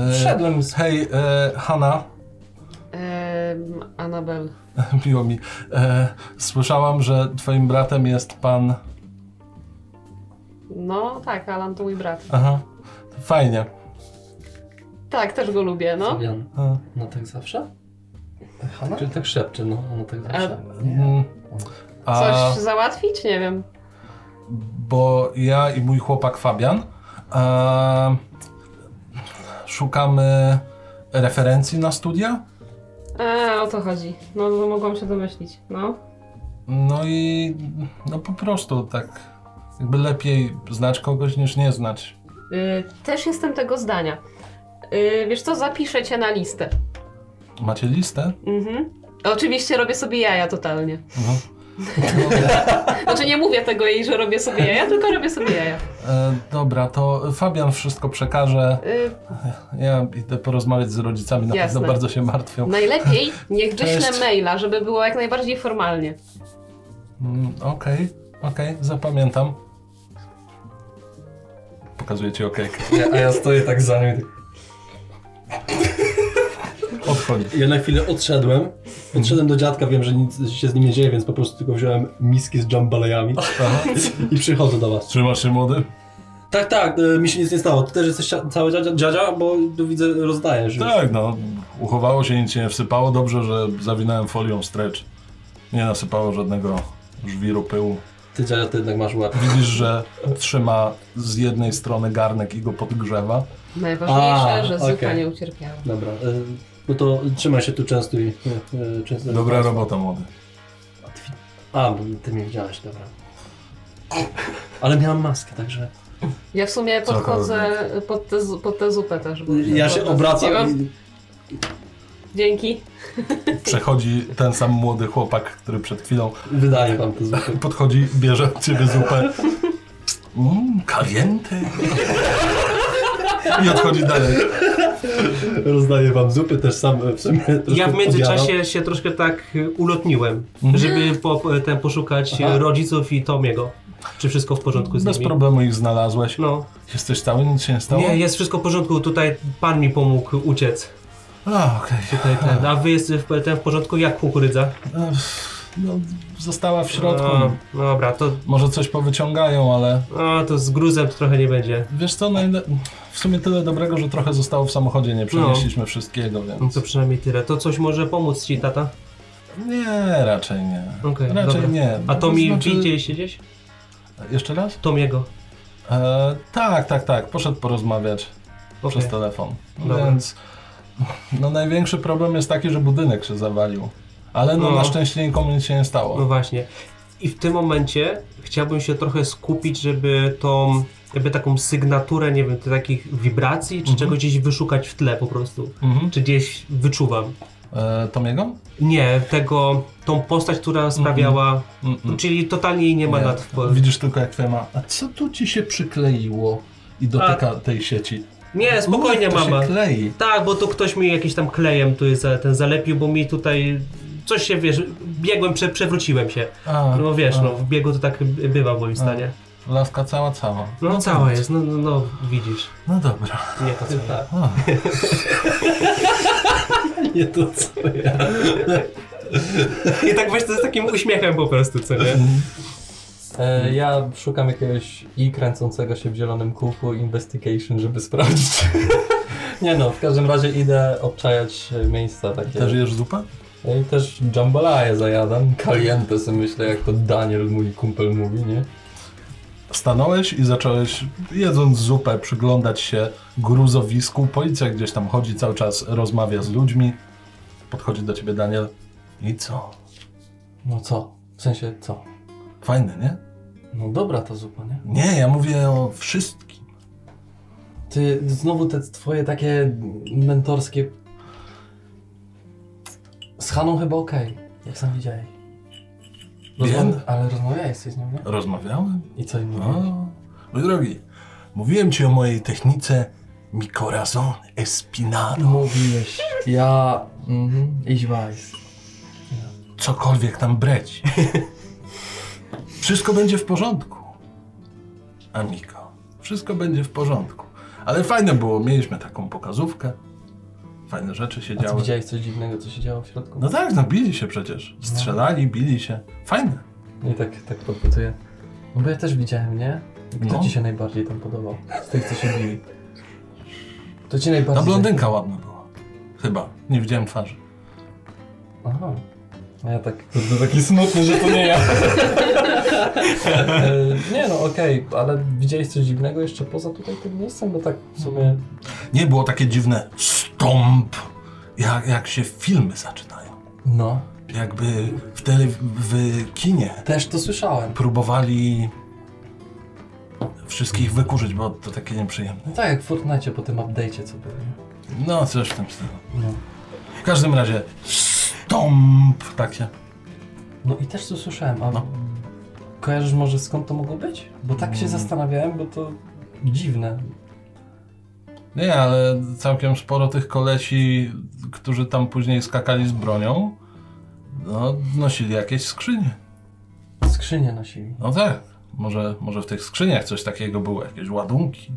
S1: E,
S4: wszedłem z...
S1: Hej, e, Hanna,
S5: Eee, em, Anabel.
S1: Miło mi. E, słyszałam, że twoim bratem jest pan...
S5: No tak, Alan to mój brat.
S1: Aha, fajnie.
S5: Tak, też go lubię, no.
S4: Fabian,
S1: E,
S4: no tak zawsze?
S6: Hanna?
S4: Czyli tak szepcze, no, no tak zawsze.
S1: mm. A-
S5: Coś załatwić? Nie wiem.
S1: bo ja i mój chłopak Fabian e, szukamy referencji na studia.
S5: A, o to chodzi. No, no mogłam się domyślić, no.
S1: No i no po prostu tak jakby lepiej znać kogoś niż nie znać.
S5: Y, też jestem tego zdania. Y, wiesz co, zapiszę cię na listę.
S1: Macie listę?
S5: Mhm. Oczywiście robię sobie jaja totalnie.
S1: Mhm.
S5: Znaczy nie mówię tego jej, że robię sobie jaja, tylko robię sobie jaja.
S1: E, dobra, to Fabian wszystko przekaże.
S5: Y,
S1: Ja idę porozmawiać z rodzicami, na
S5: Jasne. No
S1: pewno bardzo się martwią.
S5: najlepiej niech wyślę
S1: Cześć.
S5: maila, żeby było jak najbardziej formalnie.
S1: Mm, Okej, okej, zapamiętam. Pokazuję ci okejkę.
S4: Ja, a ja stoję tak za nim. i tak-
S1: Odchodzi.
S3: Ja na chwilę odszedłem. Odszedłem do dziadka, wiem, że nic się z nim nie dzieje, więc po prostu tylko wziąłem miski z jambalejami i przychodzę do was.
S1: Trzymasz się młody?
S3: Tak, tak, e, mi się nic nie stało. Ty też jesteś cia- cały dziadzia, dziadzia bo tu widzę, rozdajesz. już.
S1: Tak, no. Uchowało się, nic się nie wsypało. Dobrze, że zawinąłem folią stretch. Nie nasypało żadnego żwiru pyłu.
S3: Ty dziadzia, ty jednak masz łeb.
S1: Widzisz, że trzyma z jednej strony garnek i go podgrzewa.
S5: Najważniejsze,
S3: A,
S5: że zupa
S3: okej.
S5: nie ucierpiała.
S3: Dobra, e, no to trzymaj się tu często i... e, e, często
S1: Dobra robota, młody.
S3: A, bo ty mnie widziałeś, dobra. Ale miałam maskę, także...
S5: Ja w sumie
S1: Co
S5: podchodzę pod tę, zu- pod tę zupę też. bo-
S3: Ja się
S5: bo-
S3: obracam i...
S5: Dzięki.
S1: Przechodzi ten sam młody chłopak, który przed chwilą
S3: Wydaje wam to zwykle.
S1: podchodzi, bierze od ciebie zupę. Mmm, kalienty. I odchodzi dalej.
S3: Rozdaję wam zupy, też sam e, w sumie
S2: Ja
S3: troszkę
S2: w międzyczasie
S3: podjadam.
S2: się troszkę tak y, ulotniłem,
S1: Mhm.
S2: żeby po, ten, poszukać y,
S3: Aha.
S2: rodziców i Tomiego. Czy wszystko w porządku z
S1: Bez
S2: nimi?
S1: problemu ich znalazłeś.
S2: No.
S1: Jesteś cały, nic się nie stało?
S2: Nie, jest wszystko w porządku, tutaj pan mi pomógł uciec.
S1: A, okej.
S2: Tutaj ten. A wy jest w, ten w porządku? Jak kukurydza?
S1: E, No, została w środku.
S2: A, dobra, to,
S1: Może coś powyciągają, ale
S2: a, to z gruzem to trochę nie będzie.
S1: wiesz co, najle... w sumie tyle dobrego, że trochę zostało w samochodzie, nie przenieśliśmy wszystkiego,
S2: No
S1: więc...
S2: to przynajmniej tyle. To coś może pomóc ci, tata?
S1: Nie, raczej nie.
S2: Okej,
S1: raczej
S2: dobra.
S1: nie.
S2: A to mi
S1: Znaczy-
S2: widzieliście gdzieś?
S1: Jeszcze raz?
S2: Tomiego.
S1: E, tak, tak, tak, poszedł porozmawiać
S2: Okay.
S1: przez telefon.
S2: Dobra.
S1: Więc... No największy problem jest taki, że budynek się zawalił. Ale no,
S2: No.
S1: na szczęście nikomu nic się nie stało.
S2: No właśnie. I w tym momencie chciałbym się trochę skupić, żeby tą, jakby taką sygnaturę, nie wiem, takich wibracji, czy
S1: Mhm.
S2: czegoś gdzieś wyszukać w tle po prostu.
S1: Mhm.
S2: Czy gdzieś wyczuwam.
S1: E, Tomiego?
S2: Nie, tego, tą postać, która sprawiała,
S1: Mm-mm.
S2: czyli totalnie jej nie ma
S1: Mhm. Mm, Nie.
S2: nad wpływem.
S1: Widzisz tylko jak twoja ma. A co tu ci się przykleiło? I dotyka tej sieci.
S2: Nie, spokojnie,
S1: Mów, to
S2: mama.
S1: się klei.
S2: Tak, bo tu ktoś mi jakiś tam klejem tu jest za- ten zalepił, bo mi tutaj coś się, wiesz, biegłem, prze, przewróciłem się.
S1: A,
S2: No wiesz,
S1: Tak. a,
S2: no, w biegu to tak by- bywa w moim stanie.
S1: Laska cała, cała.
S2: No, cała jest, no, no, no widzisz.
S1: No dobra.
S2: Nie to cała.
S1: A,
S3: Nie to co ja.
S2: I tak weź to z takim uśmiechem po prostu, co nie?
S4: E, ja szukam jakiegoś i kręcącego się w zielonym kółku investigation, żeby sprawdzić. nie no, w każdym razie idę obczajać e, miejsca takie.
S1: też jesz zupę?
S4: Ja I też jambalaya zajadam, caliente sobie myślę, jak to Daniel, mój kumpel, mówi, nie?
S1: Stanąłeś i zacząłeś, jedząc zupę, przyglądać się gruzowisku. Policja gdzieś tam chodzi cały czas, rozmawia z ludźmi. Podchodzi do ciebie Daniel. I co?
S4: No co? W sensie, co?
S1: Fajny, nie?
S4: No dobra ta zupa, nie?
S1: Nie, ja mówię o wszystkim.
S4: Ty, znowu te twoje takie mentorskie... Z Haną chyba okej, jak sam widziałeś.
S1: Wiem.
S4: Ale rozmawiałeś z nią, nie?
S1: Rozmawiałem?
S4: I co im
S3: No.
S4: mówiłeś?
S1: O, No. mój drogi, mówiłem ci o mojej technice mi corazón espinado.
S4: Mówiłeś. Ja... Mhm, iść wajs.
S1: Cokolwiek tam breć. Wszystko będzie w porządku. Amiko, wszystko będzie w porządku. Ale fajne było, mieliśmy taką pokazówkę. Fajne rzeczy się
S4: A ty
S1: działy.
S4: widziałeś coś dziwnego, co się działo w środku?
S1: No tak, no bili się przecież. Strzelali, bili się. Fajne.
S4: I tak, tak podpytuję. No bo ja też widziałem, nie? Kto
S1: No.
S4: ci się najbardziej tam podobał? Z tych, co się bili. To ci najbardziej...
S1: Ta blondynka ładna była. Chyba. Nie widziałem twarzy.
S4: Aha. A ja tak, kurde, taki smutny, że to nie ja. E, nie no, okej, ale widziałeś coś dziwnego jeszcze poza tutaj tym miejscem? Bo tak w sumie...
S1: Nie było takie dziwne stomp, jak, jak się filmy zaczynają.
S4: No.
S1: Jakby w, tele, w kinie
S4: Też to słyszałem.
S1: próbowali wszystkich wykurzyć, bo to takie nieprzyjemne.
S4: No tak, jak w Fortnite po tym update'cie, co było, nie?
S1: No, coś w tym stylu.
S4: No.
S1: W każdym razie tak stomp takie.
S4: No i też to słyszałem, a
S1: No.
S4: kojarzysz może skąd to mogło być? Bo tak się
S1: Mm.
S4: zastanawiałem, bo to dziwne.
S1: Nie, ale całkiem sporo tych kolesi, którzy tam później skakali z bronią, no, nosili jakieś skrzynie.
S4: Skrzynie nosili.
S1: No tak, może, może w tych skrzyniach coś takiego było, jakieś ładunki.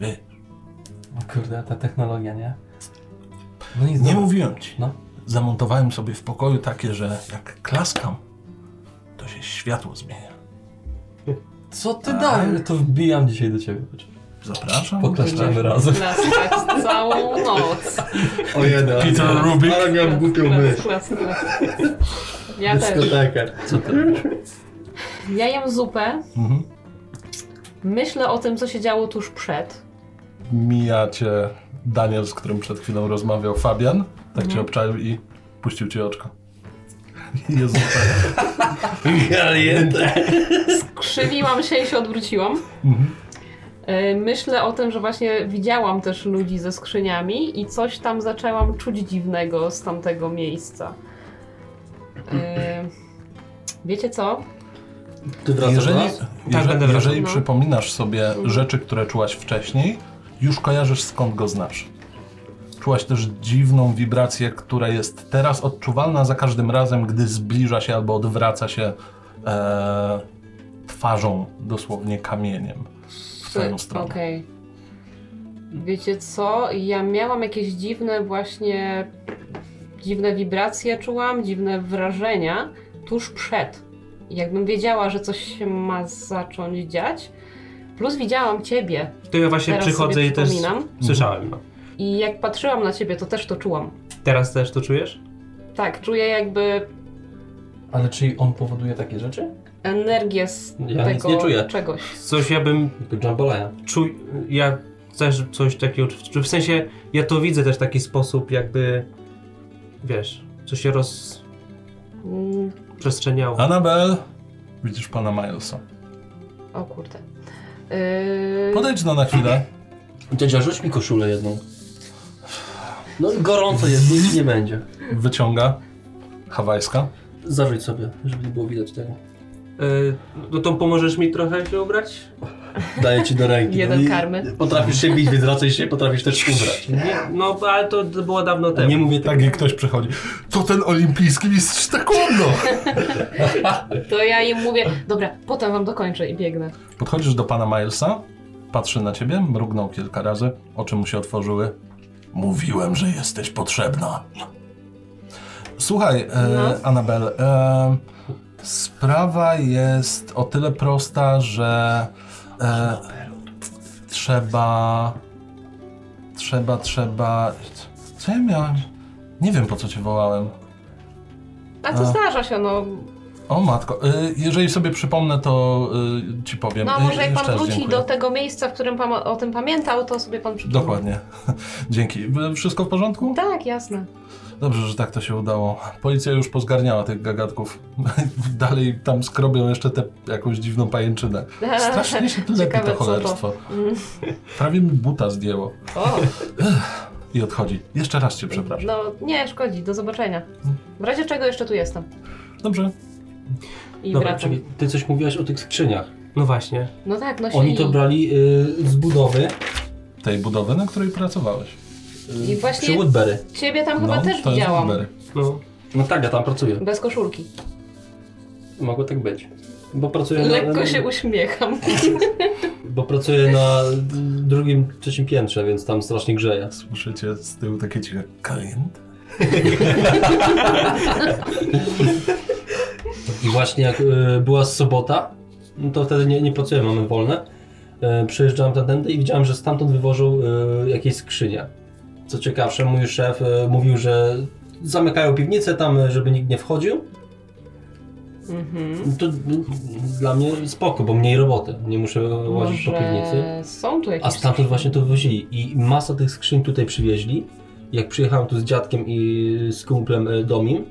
S1: Wie,
S4: O kurde, ta technologia, nie? No nic,
S1: nie
S4: dobra.
S1: mówiłem ci.
S4: No.
S1: Zamontowałem sobie w pokoju takie, że jak klaskam, to się światło zmienia.
S4: Co ty daj? To wbijam dzisiaj do ciebie.
S1: Zapraszam.
S4: Poklaszczamy razem.
S5: Klaskać tak, całą noc.
S3: O jeden.
S1: Peter Rubik.
S3: Ale miałem głupią myśl.
S5: Klas, klas, klas. Ja też.
S3: Dyskotekę.
S5: Ja jem zupę,
S1: Mhm.
S5: myślę o tym, co się działo tuż przed.
S1: Mijacie Daniel, z którym przed chwilą rozmawiał Fabian. Tak
S2: Mhm.
S1: cię obczaił i puścił ci oczko. Jezu, tak.
S3: Galiente.
S5: Krzywiłam się i się odwróciłam.
S1: Mhm.
S5: E, Myślę o tym, że właśnie widziałam też ludzi ze skrzyniami i coś tam zaczęłam czuć dziwnego z tamtego miejsca. E, Wiecie co?
S3: Ty wracasz do
S1: Jeżeli,
S3: nas?
S2: Tak, będę Mhm.
S1: jeżeli,
S2: wracał.
S1: jeżeli
S5: No.
S1: przypominasz sobie rzeczy, które czułaś wcześniej, już kojarzysz skąd go znasz. Czułaś też dziwną wibrację, która jest teraz odczuwalna za każdym razem, gdy zbliża się albo odwraca się e, twarzą, dosłownie kamieniem w twoją stronę.
S5: Okej. Wiecie co? Ja miałam jakieś dziwne właśnie... Dziwne wibracje czułam, dziwne wrażenia tuż przed. Jakbym wiedziała, że coś się ma zacząć dziać. Plus widziałam ciebie.
S2: To ja właśnie
S5: Teraz
S2: przychodzę
S5: sobie
S2: i też
S5: przypominam.
S2: słyszałem. No.
S5: I jak patrzyłam na ciebie, to też to czułam.
S2: Teraz też to czujesz?
S5: Tak, czuję jakby
S4: Ale czyli on powoduje takie rzeczy?
S5: energię z
S3: Ja nic
S5: tego
S3: nie czuję.
S5: czegoś.
S2: Coś ja bym
S3: Tylko jambalaya.
S2: czuł... Ja też coś takiego... czu- czu- W sensie, ja to widzę też w taki sposób jakby... Wiesz, co się
S5: Mm,
S2: rozprzestrzeniało.
S1: Anabel, widzisz pana Milesa.
S5: o kurde. Yy,
S1: Podejdź no na chwilę.
S3: Dziadzia, rzuć mi koszulę jedną. No gorąco jest, nic nie będzie.
S1: Wyciąga. Hawajska.
S3: Zarzuć sobie, żeby nie było widać tego.
S2: Y, no to pomożesz mi trochę się ubrać?
S3: Daję ci do ręki. no
S5: Jeden
S3: i
S5: karmy.
S3: Potrafisz się bić, więc raczej się potrafisz też ubrać.
S2: Nie, no ale to było dawno temu.
S3: Nie mówię tak.
S1: Tak jak ktoś przychodzi. To ten olimpijski mistrz taekwondo.
S5: Yy, To ja im mówię, dobra, potem wam dokończę i biegnę.
S1: Podchodzisz do pana Milesa, patrzy na ciebie, mrugnął kilka razy, oczy mu się otworzyły. Mówiłem, że jesteś potrzebna. Słuchaj, e,
S5: No.
S1: Anabel, e, sprawa jest o tyle prosta, że e, trzeba, trzeba, trzeba. Co ja miałem? Nie wiem po co cię wołałem.
S5: A to
S1: A.
S5: zdarza się, no.
S1: O matko, y, jeżeli sobie przypomnę, to y, ci powiem.
S5: No
S1: Y,
S5: może jak
S1: jeszcze
S5: pan
S1: raz
S5: wróci
S1: dziękuję.
S5: do tego miejsca, w którym pan o o tym pamiętał, to sobie pan przypomni.
S1: Dokładnie. Dzięki. Y, Wszystko w porządku?
S5: Tak, jasne.
S1: Dobrze, że tak to się udało. Policja już pozgarniała tych gagatków. Dalej tam skrobią jeszcze tę jakąś dziwną pajęczynę. Strasznie się tu lepi
S5: Ciekawe,
S1: to
S5: co to.
S1: cholerstwo.
S5: Mm.
S1: Prawie mi buta zdjęło.
S5: O,
S1: I odchodzi. Jeszcze raz cię przepraszam.
S5: no nie szkodzi, do zobaczenia. W razie czego jeszcze tu jestem.
S1: Dobrze.
S5: I
S2: Dobra,
S5: wracam.
S3: Czyli ty coś mówiłaś o tych skrzyniach.
S2: No właśnie.
S5: No tak, nosili.
S3: Oni to brali y, z budowy
S1: Tej budowy, na której pracowałeś. No,
S3: y,
S5: I właśnie-
S3: przy Woodbury.
S5: Ciebie tam No, chyba też
S1: to jest
S5: widziałam.
S1: Burberry.
S2: No.
S3: No tak, ja tam pracuję.
S5: Bez koszulki.
S3: Mogło tak być. Bo pracuję
S5: Lekko
S3: na,
S5: się uśmiecham.
S3: bo pracuję na drugim, trzecim piętrze, więc tam strasznie grzeje.
S1: Słyszycie z tyłu takie ciche klient?
S3: I właśnie jak y, była sobota, no to wtedy nie, nie pracuję, mamy wolne. Y, przejeżdżałem tamtędy i widziałem, że stamtąd wywożą y, jakieś skrzynie. Co ciekawsze, mój szef y, mówił, że zamykają piwnicę tam, y, żeby nikt nie wchodził.
S5: Mhm.
S3: To y, dla mnie spoko, bo mniej roboty. Nie muszę łazić po piwnicy.
S5: Może są tu jakieś...
S3: A stamtąd właśnie to wywozili i masa tych skrzyń tutaj przywieźli. Jak przyjechałem tu z dziadkiem i z kumplem e, Domim, e,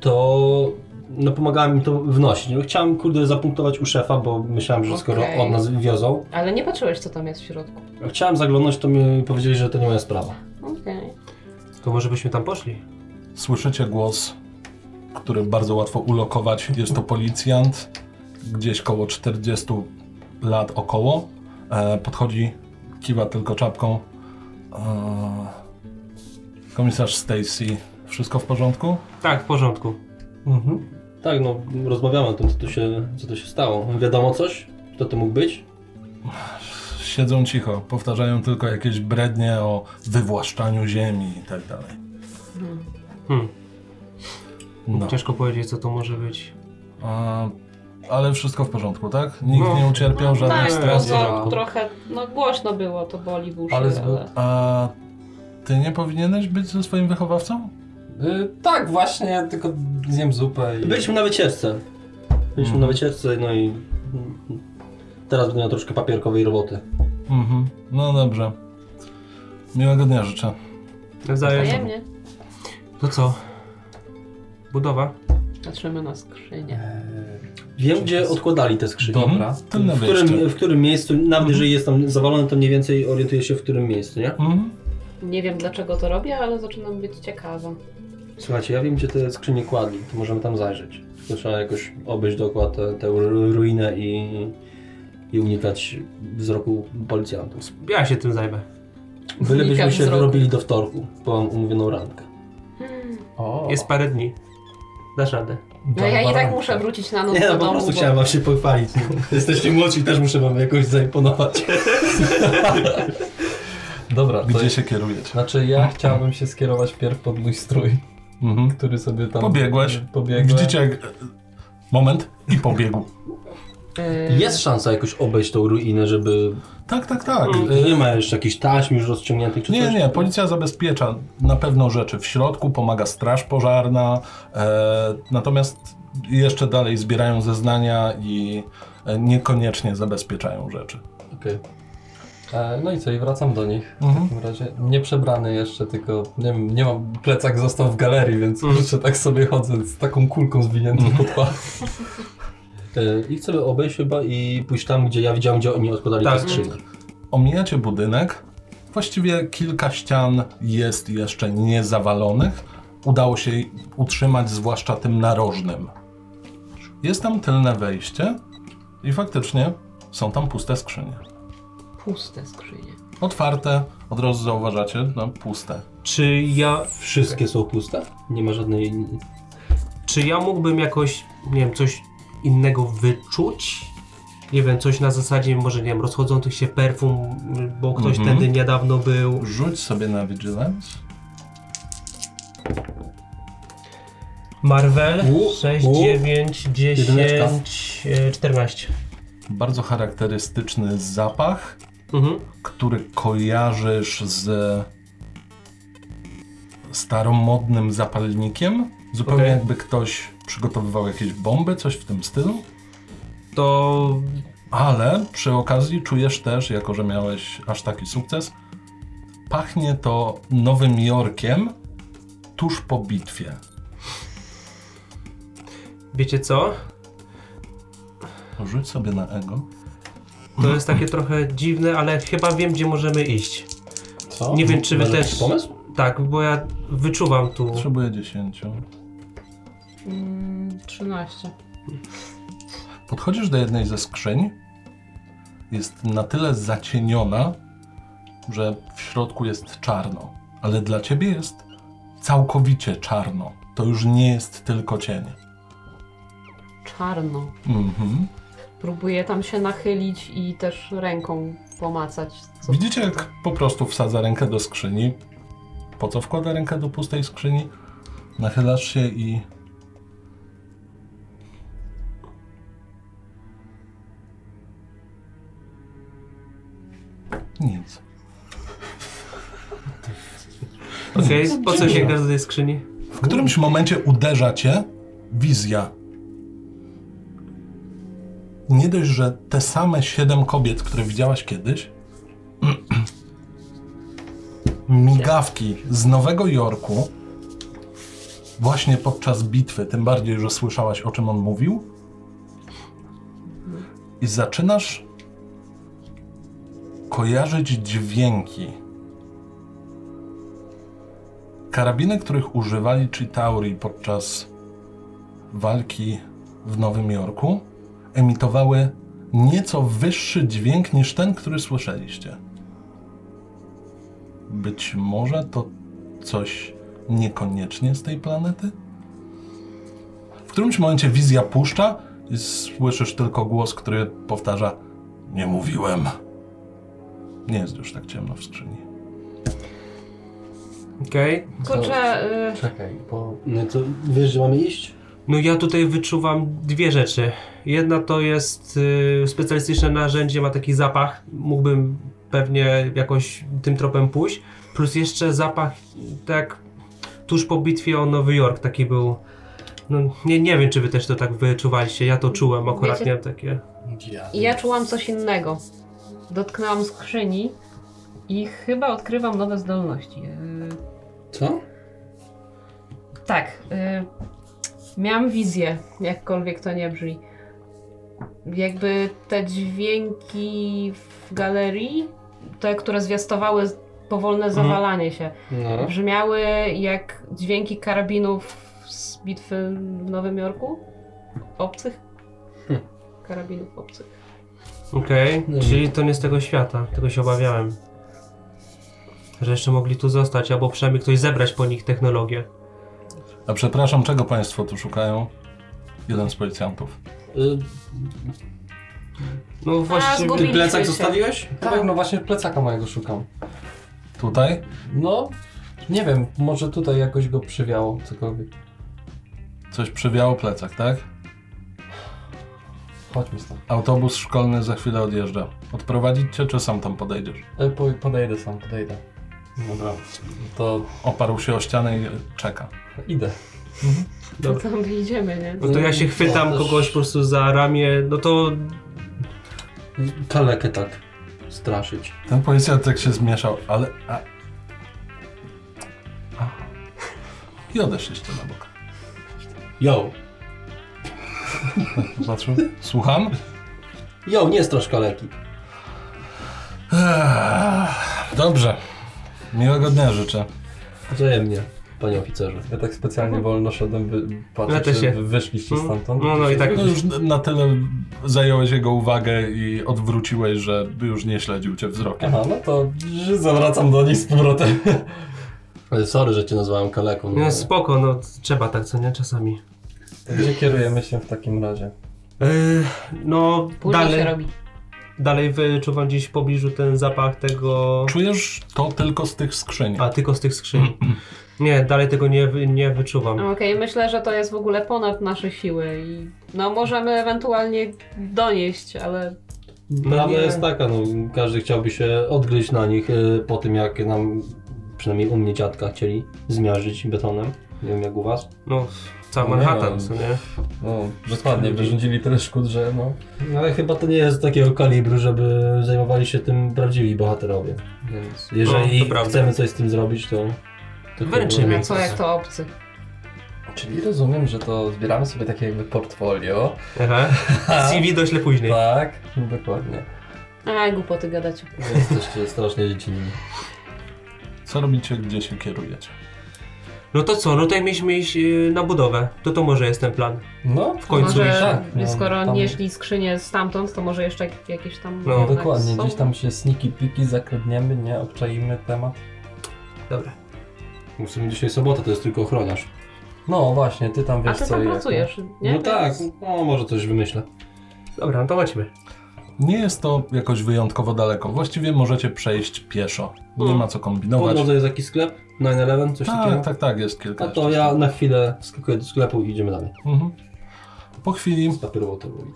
S3: to no pomagałem im to wnosić. No, Chciałem kurde zapunktować u szefa, bo myślałem, że skoro
S5: Okej.
S3: od nas wiozą,
S5: Ale nie patrzyłeś, co tam jest w środku.
S3: chciałem zaglądać, to mi powiedzieli, że to nie moja sprawa.
S5: Okej.
S2: To może byśmy tam poszli?
S1: Słyszycie głos, który bardzo łatwo ulokować. Jest to policjant, gdzieś koło 40 lat około. E, podchodzi, kiwa tylko czapką. E, komisarz Stacy, wszystko w porządku?
S2: Tak, w porządku.
S4: Mhm.
S3: Tak, no rozmawiamy o tym, co tu się, co tu się stało. Wiadomo coś? Kto to mógł być?
S1: Siedzą cicho, powtarzają tylko jakieś brednie o wywłaszczaniu ziemi i tak dalej.
S2: Hmm.
S1: No.
S2: Ciężko powiedzieć, co to może być.
S1: E, ale wszystko w porządku, tak? Nikt
S2: No.
S1: nie ucierpiał żadnych
S5: Tak,
S2: jest
S5: no
S1: strat.
S5: to trochę... No głośno było, to boli w uszy,
S4: Ale
S5: ale...
S4: z-
S1: A ty nie powinieneś być ze swoim wychowawcą?
S4: Y, tak, właśnie, tylko zjem zupę i...
S3: Byliśmy na wycieczce. Byliśmy
S1: Mhm.
S3: na wycieczce, no i teraz będę miał troszkę papierkowej roboty.
S1: Mhm. No dobrze. Miłego dnia życzę.
S2: Nawzajem.
S5: Wzajemnie.
S2: To co? Budowa?
S5: Patrzymy na skrzynię.
S3: Wiem, gdzie odkładali te skrzynie.
S1: Mhm. Tylne
S3: W
S1: wyjście.
S3: którym, w którym miejscu, nawet jeżeli jest tam zawalony, to mniej więcej orientuję się w którym miejscu, nie?
S1: Mhm.
S5: Nie wiem, dlaczego to robię, ale zaczynam być ciekawa. No
S3: Słuchajcie, ja wiem, gdzie te skrzynie kładli, to możemy tam zajrzeć. To trzeba jakoś obejść dookoła tę, tę ru- ruinę i, i unikać wzroku policjantów.
S2: Ja się tym zajmę.
S3: Bylebyśmy
S5: Unikam
S3: się
S5: wzroku.
S3: wyrobili do wtorku, bo mam umówioną randkę.
S4: O.
S2: Jest parę dni. Dasz radę.
S5: No ja i tak muszę wrócić na noc
S3: Nie,
S5: do
S3: no po
S5: domu,
S3: prostu
S5: bo-
S3: chciałem wam się pochwalić. Jesteście młodzi, też muszę wam jakoś zaimponować.
S4: Dobra, to
S1: Gdzie
S4: jest...
S1: się kierujecie?
S4: Znaczy ja chciałbym się skierować pierw pod mój strój,
S1: Mhm.
S4: który sobie tam...
S1: Pobiegłeś.
S4: Pobiegłem.
S1: Widzicie jak... Moment. I pobiegł.
S5: Yy,
S3: Jest szansa jakoś obejść tą ruinę, żeby... E,
S1: Tak, tak, tak.
S3: Nie ma jeszcze jakichś taśm już rozciągniętych czy
S1: Nie,
S3: coś?
S1: nie, policja zabezpiecza na pewno rzeczy w środku, pomaga straż pożarna, e, natomiast jeszcze dalej zbierają zeznania i e, niekoniecznie zabezpieczają rzeczy.
S4: Okej. E, No i co, i wracam do nich.
S1: Mhm.
S4: W takim razie nie przebrany jeszcze, tylko nie, wiem, nie mam, plecak został w galerii, więc
S2: Mhm.
S4: kurczę, tak sobie chodzę z taką kulką zwiniętą
S2: Mm.
S4: pod pach.
S3: E, I chcemy obejść chyba i pójść tam, gdzie ja widziałem, gdzie oni odkładali
S2: Tak.
S3: te skrzynie.
S1: Omijacie budynek. Właściwie kilka ścian jest jeszcze niezawalonych. Udało się jej utrzymać, zwłaszcza tym narożnym. Jest tam tylne wejście i faktycznie są tam puste skrzynie.
S5: Puste skrzynie.
S1: Otwarte, od razu zauważacie, no puste.
S2: Czy ja,
S3: Wszystkie są puste? Nie ma żadnej...
S2: czy ja mógłbym jakoś, nie wiem, coś innego wyczuć? Nie wiem, coś na zasadzie, może nie wiem, rozchodzących się perfum, bo ktoś
S1: Mhm.
S2: tędy niedawno był.
S1: Rzuć sobie na Vigilance.
S2: Marvel
S3: U,
S2: 6,
S3: u,
S2: 9, 10,
S3: jedyneczka.
S2: e, 14.
S1: Bardzo charakterystyczny zapach,
S2: Mhm.
S1: który kojarzysz z staromodnym zapalnikiem. Zupełnie
S2: Okej.
S1: jakby ktoś przygotowywał jakieś bomby, coś w tym stylu.
S2: To
S1: Ale przy okazji czujesz też, jako że miałeś aż taki sukces, pachnie to Nowym Jorkiem tuż po bitwie.
S2: wiecie co?
S1: Rzuć sobie na ego.
S2: To jest takie trochę dziwne, ale chyba wiem, gdzie możemy iść.
S3: Co?
S2: Nie wiem, czy wy
S3: Masz
S2: też-
S3: jakiś pomysł?
S2: Tak, bo ja wyczuwam tu.
S1: Potrzebuję 10.
S5: Mm, 13.
S1: Podchodzisz do jednej ze skrzyń. Jest na tyle zacieniona, że w środku jest czarno. Ale dla ciebie jest całkowicie czarno. To już nie jest tylko cień.
S5: czarno.
S1: Mhm.
S5: Próbuję tam się nachylić i też ręką pomacać. Co
S1: Widzicie, jak po prostu wsadza rękę do skrzyni. Po co wkłada rękę do pustej skrzyni? Nachylasz się i. Nic.
S2: Okej, po co sięgasz do tej skrzyni?
S1: W którymś momencie uderza cię wizja. Nie dość, że te same siedem kobiet, które widziałaś kiedyś, migawki z Nowego Jorku, właśnie podczas bitwy, tym bardziej, że słyszałaś o czym on mówił, i zaczynasz kojarzyć dźwięki. Karabiny, których używali Chitauri podczas walki w Nowym Jorku, emitowały nieco wyższy dźwięk niż ten, który słyszeliście. Być może to coś niekoniecznie z tej planety? W którymś momencie wizja puszcza i słyszysz tylko głos, który powtarza: Nie mówiłem. Nie jest już tak ciemno w skrzyni.
S2: Okej.
S5: Kurczę, y,
S4: Czekaj, bo
S3: No to wiesz, że mamy iść?
S2: No ja tutaj wyczuwam dwie rzeczy. Jedna to jest y, specjalistyczne narzędzie, ma taki zapach. Mógłbym pewnie jakoś tym tropem pójść. Plus jeszcze zapach tak tuż po bitwie o Nowy Jork taki był. No, nie, nie wiem, czy wy też to tak wyczuwaliście. Ja to czułem akurat,
S5: Wiecie-
S2: miałem takie.
S5: I ja czułam coś innego. Dotknęłam skrzyni i chyba odkrywam nowe zdolności. Yy,
S3: Co?
S5: tak, yy, miałam wizję, jakkolwiek to nie brzmi. Jakby te dźwięki w galerii, te, które zwiastowały powolne zawalanie się,
S4: no.
S5: brzmiały jak dźwięki karabinów z bitwy w Nowym Jorku? Obcych? Karabinów obcych.
S2: Okej,
S3: No i-
S2: czyli to nie z tego świata. Tego się obawiałem. Że jeszcze mogli tu zostać, albo przynajmniej ktoś zebrać po nich technologię.
S1: A przepraszam, czego państwo tu szukają? Jeden z policjantów.
S3: Y,
S2: No właściwie...
S5: zgubi-
S3: Ty plecak
S5: się.
S3: zostawiłeś?
S4: Tak, no właśnie plecaka mojego szukam.
S1: Tutaj?
S4: No, nie wiem, może tutaj jakoś go przywiało cokolwiek.
S1: Coś przywiało plecak, tak?
S4: Chodźmy stąd.
S1: Autobus szkolny za chwilę odjeżdża. Odprowadzić cię, czy sam tam podejdziesz?
S4: E, po, podejdę sam, podejdę. Dobra, to
S1: Oparł się o ścianę i czeka.
S4: idę.
S5: To tam wyjdziemy, nie?
S2: No to ja się chwytam
S3: też-
S2: kogoś po prostu za ramię, no to
S3: Kalekę tak straszyć.
S1: Ten policjant tak się zmieszał, ale... A... Aha. I odeszliście na bok.
S3: Yo!
S1: Zobaczył? Słucham?
S3: Yo, nie strasz kaleki.
S1: Ech, Dobrze. Miłego dnia życzę.
S3: Wzajemnie, panie oficerze.
S4: Ja tak specjalnie wolno szedłem, by
S2: Ja
S4: patrzeć,
S2: też się-
S4: czy wyszliście stamtąd.
S2: No, no i tak.
S1: No już na tyle zająłeś jego uwagę i odwróciłeś, że już nie śledził cię wzrokiem.
S4: Aha, no to zawracam do nich z powrotem.
S3: Ale Sorry, że cię nazwałem kaleką.
S2: No spoko, no trzeba tak co nie czasami.
S4: Gdzie kierujemy się w takim razie?
S2: Yy, no
S5: Późno się
S2: dalej,
S5: robi.
S2: dalej wyczuwam gdzieś w pobliżu ten zapach tego...
S1: Czujesz to tylko z tych skrzyni.
S2: A, tylko z tych skrzyni. Nie, dalej tego nie, wy- nie wyczuwam.
S5: Okej, myślę, że to jest w ogóle ponad nasze siły i no możemy ewentualnie donieść, ale
S3: Prawda
S2: nie.
S3: jest taka, no, każdy chciałby się odgryźć na nich y, po tym, jak nam, przynajmniej u mnie dziadka chcieli zmiażdżyć betonem. Nie wiem jak u was.
S2: No, cały
S4: No nie
S2: Manhattan,
S4: mam.
S2: co nie?
S4: No, dokładnie, wyrządzili tyle szkód, że no...
S3: Ale chyba to nie jest takiego kalibru, żeby zajmowali się tym prawdziwi bohaterowie.
S4: Więc...
S2: No,
S3: Jeżeli
S2: to prawda.
S3: chcemy coś z tym zrobić, to... to
S2: Wręczymy.
S3: chyba-
S5: no co jak to obcy.
S4: Czyli rozumiem, że to zbieramy sobie takie jakby portfolio.
S2: Aha. CV dośle później.
S4: Tak, dokładnie.
S5: A, głupoty gadacie.
S3: Jesteście strasznie dziecinni.
S1: Co robicie, gdzie się kierujecie?
S2: No to co, no to jak mieliśmy iść yy, na budowę, to to może jest ten plan.
S4: No,
S2: W końcu iść.
S5: może,
S4: tak, no,
S5: skoro
S4: tam-
S5: nieśli skrzynię stamtąd, to może jeszcze jak- jakieś tam...
S2: No,
S4: No
S5: jednak
S4: dokładnie,
S5: tak, są.
S4: gdzieś tam się sniki piki zakradniemy, nie obczaimy temat.
S2: Dobra.
S3: W sumie dzisiaj sobota, to jest tylko ochroniarz.
S4: No właśnie, ty tam
S5: A
S4: wiesz
S5: ty
S4: co
S5: tam
S4: i jak,
S5: pracujesz, nie?
S3: No tak, no może coś wymyślę.
S2: Dobra, no to chodźmy.
S1: Nie jest to jakoś wyjątkowo daleko. Właściwie możecie przejść pieszo. Nie
S3: Hmm.
S1: ma co
S3: Po
S1: kombinować.
S3: drodze jest jakiś sklep, 9-11, coś takiego.
S1: Tak, tak, tak, jest kilka.
S3: A to
S1: jeszcze
S3: ja
S1: stron.
S3: na chwilę skakuję do sklepu i idziemy dalej.
S1: Mhm. Po chwili
S3: Papierowo to robi.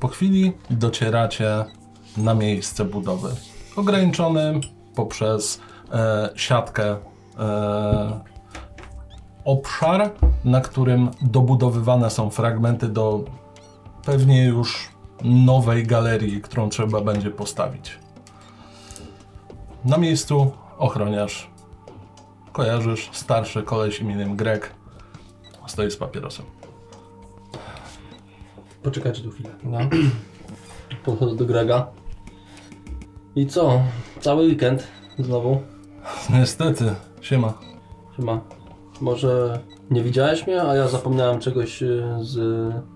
S1: Po chwili docieracie na miejsce budowy. Ograniczony poprzez e, siatkę e, obszar, na którym dobudowywane są fragmenty do pewnie już nowej galerii, którą trzeba będzie postawić. Na miejscu ochroniarz, kojarzysz, starszy koleś imieniem Greg, stoi z papierosem.
S3: Poczekajcie tu chwilę.
S4: No.
S3: Podchodzę do Grega. I co? Cały weekend znowu.
S1: Niestety, siema.
S3: Siema. Może nie widziałeś mnie, a ja zapomniałem czegoś e, z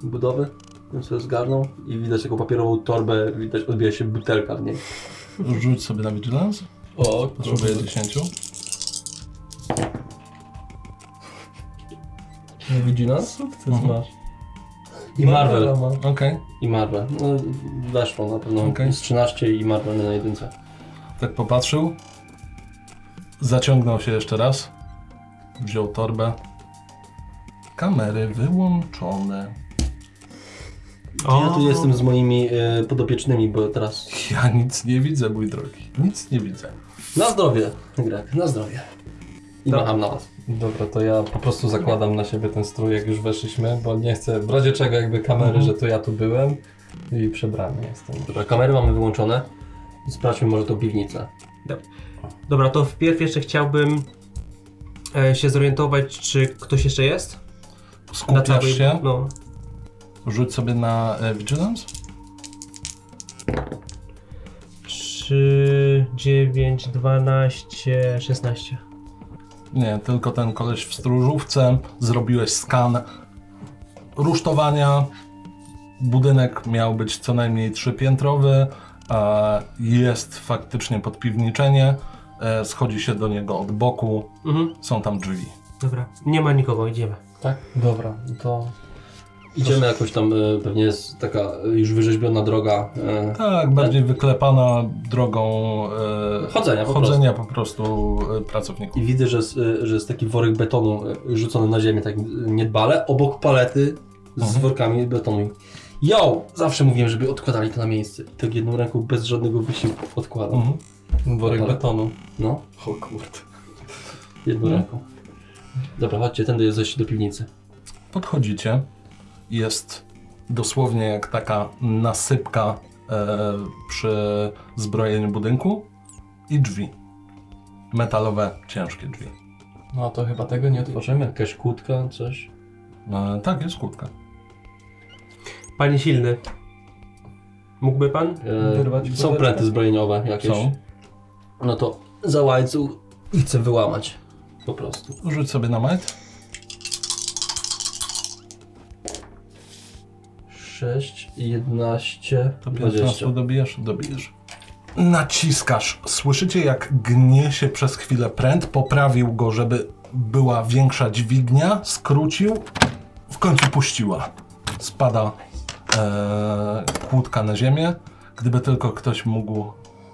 S3: budowy, więc sobie zgarnął i widać taką papierową torbę, widać odbija się butelka w niej.
S1: Rzuć sobie na Vigilance.
S3: O,
S1: Potrzebuję 10.
S4: Widzi nas? Ty
S1: Mhm.
S4: masz. No,
S3: I Marvel.
S1: Okej.
S3: No, I Marvel. No, weszło na pewno
S1: Okej.
S3: z 13 i Marvel na jedynce.
S1: Tak popatrzył. Zaciągnął się jeszcze raz. Wziął torbę. Kamery wyłączone.
S3: Ja tu jestem z moimi e, podopiecznymi, bo teraz...
S1: Ja nic nie widzę, mój drogi. Nic nie widzę.
S3: Na zdrowie, Greg, na zdrowie. I
S2: Dobra.
S3: macham na was.
S4: Dobra, to ja po prostu zakładam na siebie ten strój, jak już weszliśmy, bo nie chcę w razie czego jakby kamery, że to ja tu byłem i przebrany jestem.
S3: Dobra, kamery mamy wyłączone. I sprawdźmy może tą piwnicę.
S2: Dobra, to wpierw jeszcze chciałbym e, się zorientować, czy ktoś jeszcze jest?
S1: Skupiasz się.
S2: No.
S1: Rzuć sobie na e, Vigilance.
S2: 3, 9, 12, 16.
S1: Nie, tylko ten koleś w stróżówce. Zrobiłeś skan rusztowania. Budynek miał być co najmniej trzypiętrowy. a Jest faktycznie podpiwniczenie. E, Schodzi się do niego od boku.
S2: Mhm,
S1: Są tam drzwi.
S2: dobra. Nie ma nikogo, idziemy.
S4: Tak? Dobra, to
S3: Idziemy jakoś tam, e, pewnie jest taka e, już wyrzeźbiona droga. E,
S1: Tak, bardziej wyklepana drogą e,
S3: Chodzenia po
S1: chodzenia po prostu e, pracowników.
S3: I widzę, że, jest, e, że jest taki worek betonu e, rzucony na ziemię tak e, niedbale, obok palety z
S1: Mhm.
S3: workami betonu. Yo! Zawsze mówiłem, żeby odkładali to na miejsce. I tak jedną ręką bez żadnego wysiłku odkładam.
S1: Mhm.
S4: worek
S3: Dobra.
S4: betonu.
S3: No. O kurde. Jedną ręką. Dobra, chodźcie, tędy jest zejście do piwnicy.
S1: Podchodzicie. Jest dosłownie jak taka nasypka e, przy zbrojeniu budynku i drzwi. Metalowe, ciężkie drzwi.
S4: No to chyba tego nie otworzymy.
S3: Jakaś kłódka, coś.
S1: E, tak, jest kłódka.
S2: Panie silny. Mógłby pan?
S4: Wyrwać
S3: E, są
S4: kłódeczkę?
S3: pręty zbrojeniowe jakieś.
S1: Są.
S3: No to za łańcuch i chcę wyłamać. Po prostu.
S1: Rzuć sobie na met.
S3: 6, 11,
S1: To
S3: 20.
S1: 15 dobijesz, dobijesz. Naciskasz. Słyszycie, jak gnie się przez chwilę pręt. Poprawił go, żeby była większa dźwignia. Skrócił. W końcu puściła. Spada e, kłódka na ziemię. Gdyby tylko ktoś mógł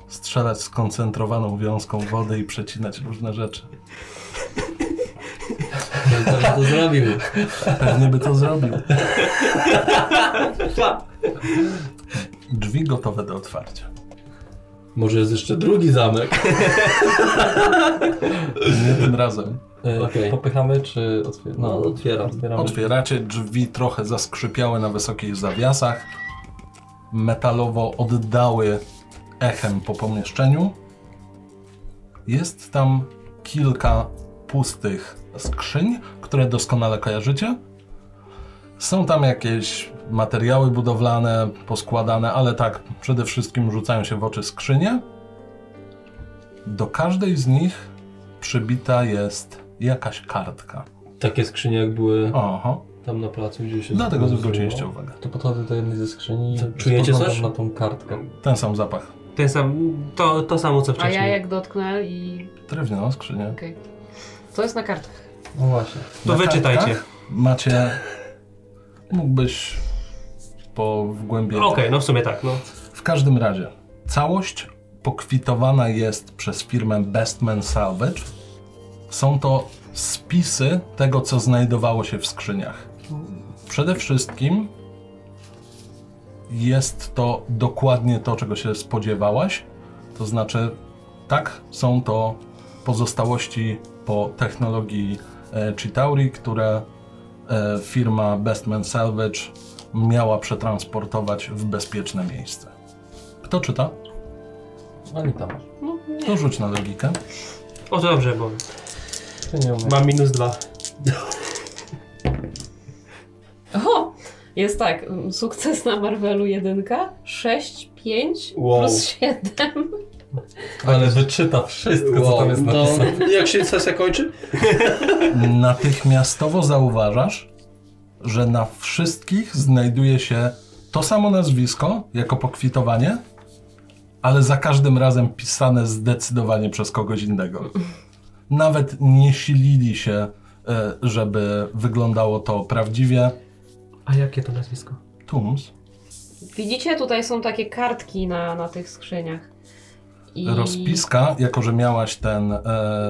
S1: strzelać skoncentrowaną wiązką wody i przecinać różne rzeczy.
S3: Tak To, to zrobił.
S1: Pewnie by to zrobił. Drzwi gotowe do otwarcia.
S3: Może jest jeszcze drugi zamek.
S1: Nie tym razem.
S4: E,
S3: Okej.
S4: Popychamy czy otwieramy?
S3: No, otwieram.
S4: Otwieramy.
S1: Otwieracie drzwi trochę zaskrzypiałe na wysokich zawiasach. Metalowo oddały echem po pomieszczeniu. Jest tam kilka pustych skrzyń, które doskonale kojarzycie. Są tam jakieś materiały budowlane, poskładane, ale tak, przede wszystkim rzucają się w oczy skrzynie. Do każdej z nich przybita jest jakaś kartka.
S3: Takie skrzynie jak były
S1: Aha.
S3: tam na placu, gdzie się...
S1: Dlatego
S3: zbudowało.
S1: zwróciliście uwagę.
S4: To podchodzę do jednej ze skrzyni i
S3: czujecie
S4: spoglądam
S3: coś?
S4: na tą kartkę.
S1: Ten sam zapach.
S2: Ten sam, to, to samo co
S5: A
S2: wcześniej.
S5: ja jak dotknę i...
S1: Drewniana skrzynia.
S5: okej. Co jest na kartach?
S4: No właśnie.
S2: To
S1: Na
S2: wyczytajcie.
S1: kartkach Macie. Mógłbyś po wgłębieniu.
S2: Okej, no w sumie tak, no.
S1: W każdym razie, całość pokwitowana jest przez firmę Bestman Salvage. Są to spisy tego, co znajdowało się w skrzyniach. Przede wszystkim jest to dokładnie to, czego się spodziewałaś. To znaczy, tak, są to pozostałości po technologii e, Chitauri, które e, firma Bestman Salvage miała przetransportować w bezpieczne miejsce. Kto czyta?
S4: Anita,
S1: To rzuć na logikę.
S2: O, to dobrze, bo
S4: ty nie umiesz.
S2: mam minus dwa.
S5: O! Jest tak, mm, sukces na Marvelu 1, 6, 5
S4: Wow.
S5: plus 7.
S4: Ale wyczyta wszystko, co tam jest
S3: to,
S4: napisane.
S3: no. jak się sesja kończy?
S1: Natychmiastowo zauważasz, że na wszystkich znajduje się to samo nazwisko jako pokwitowanie, ale za każdym razem pisane zdecydowanie przez kogoś innego. Nawet nie silili się, e, żeby wyglądało to prawdziwie.
S2: A jakie to nazwisko?
S1: Tums
S5: Widzicie, tutaj są takie kartki na, na tych skrzyniach. I...
S1: rozpiska, jako że miałaś ten e,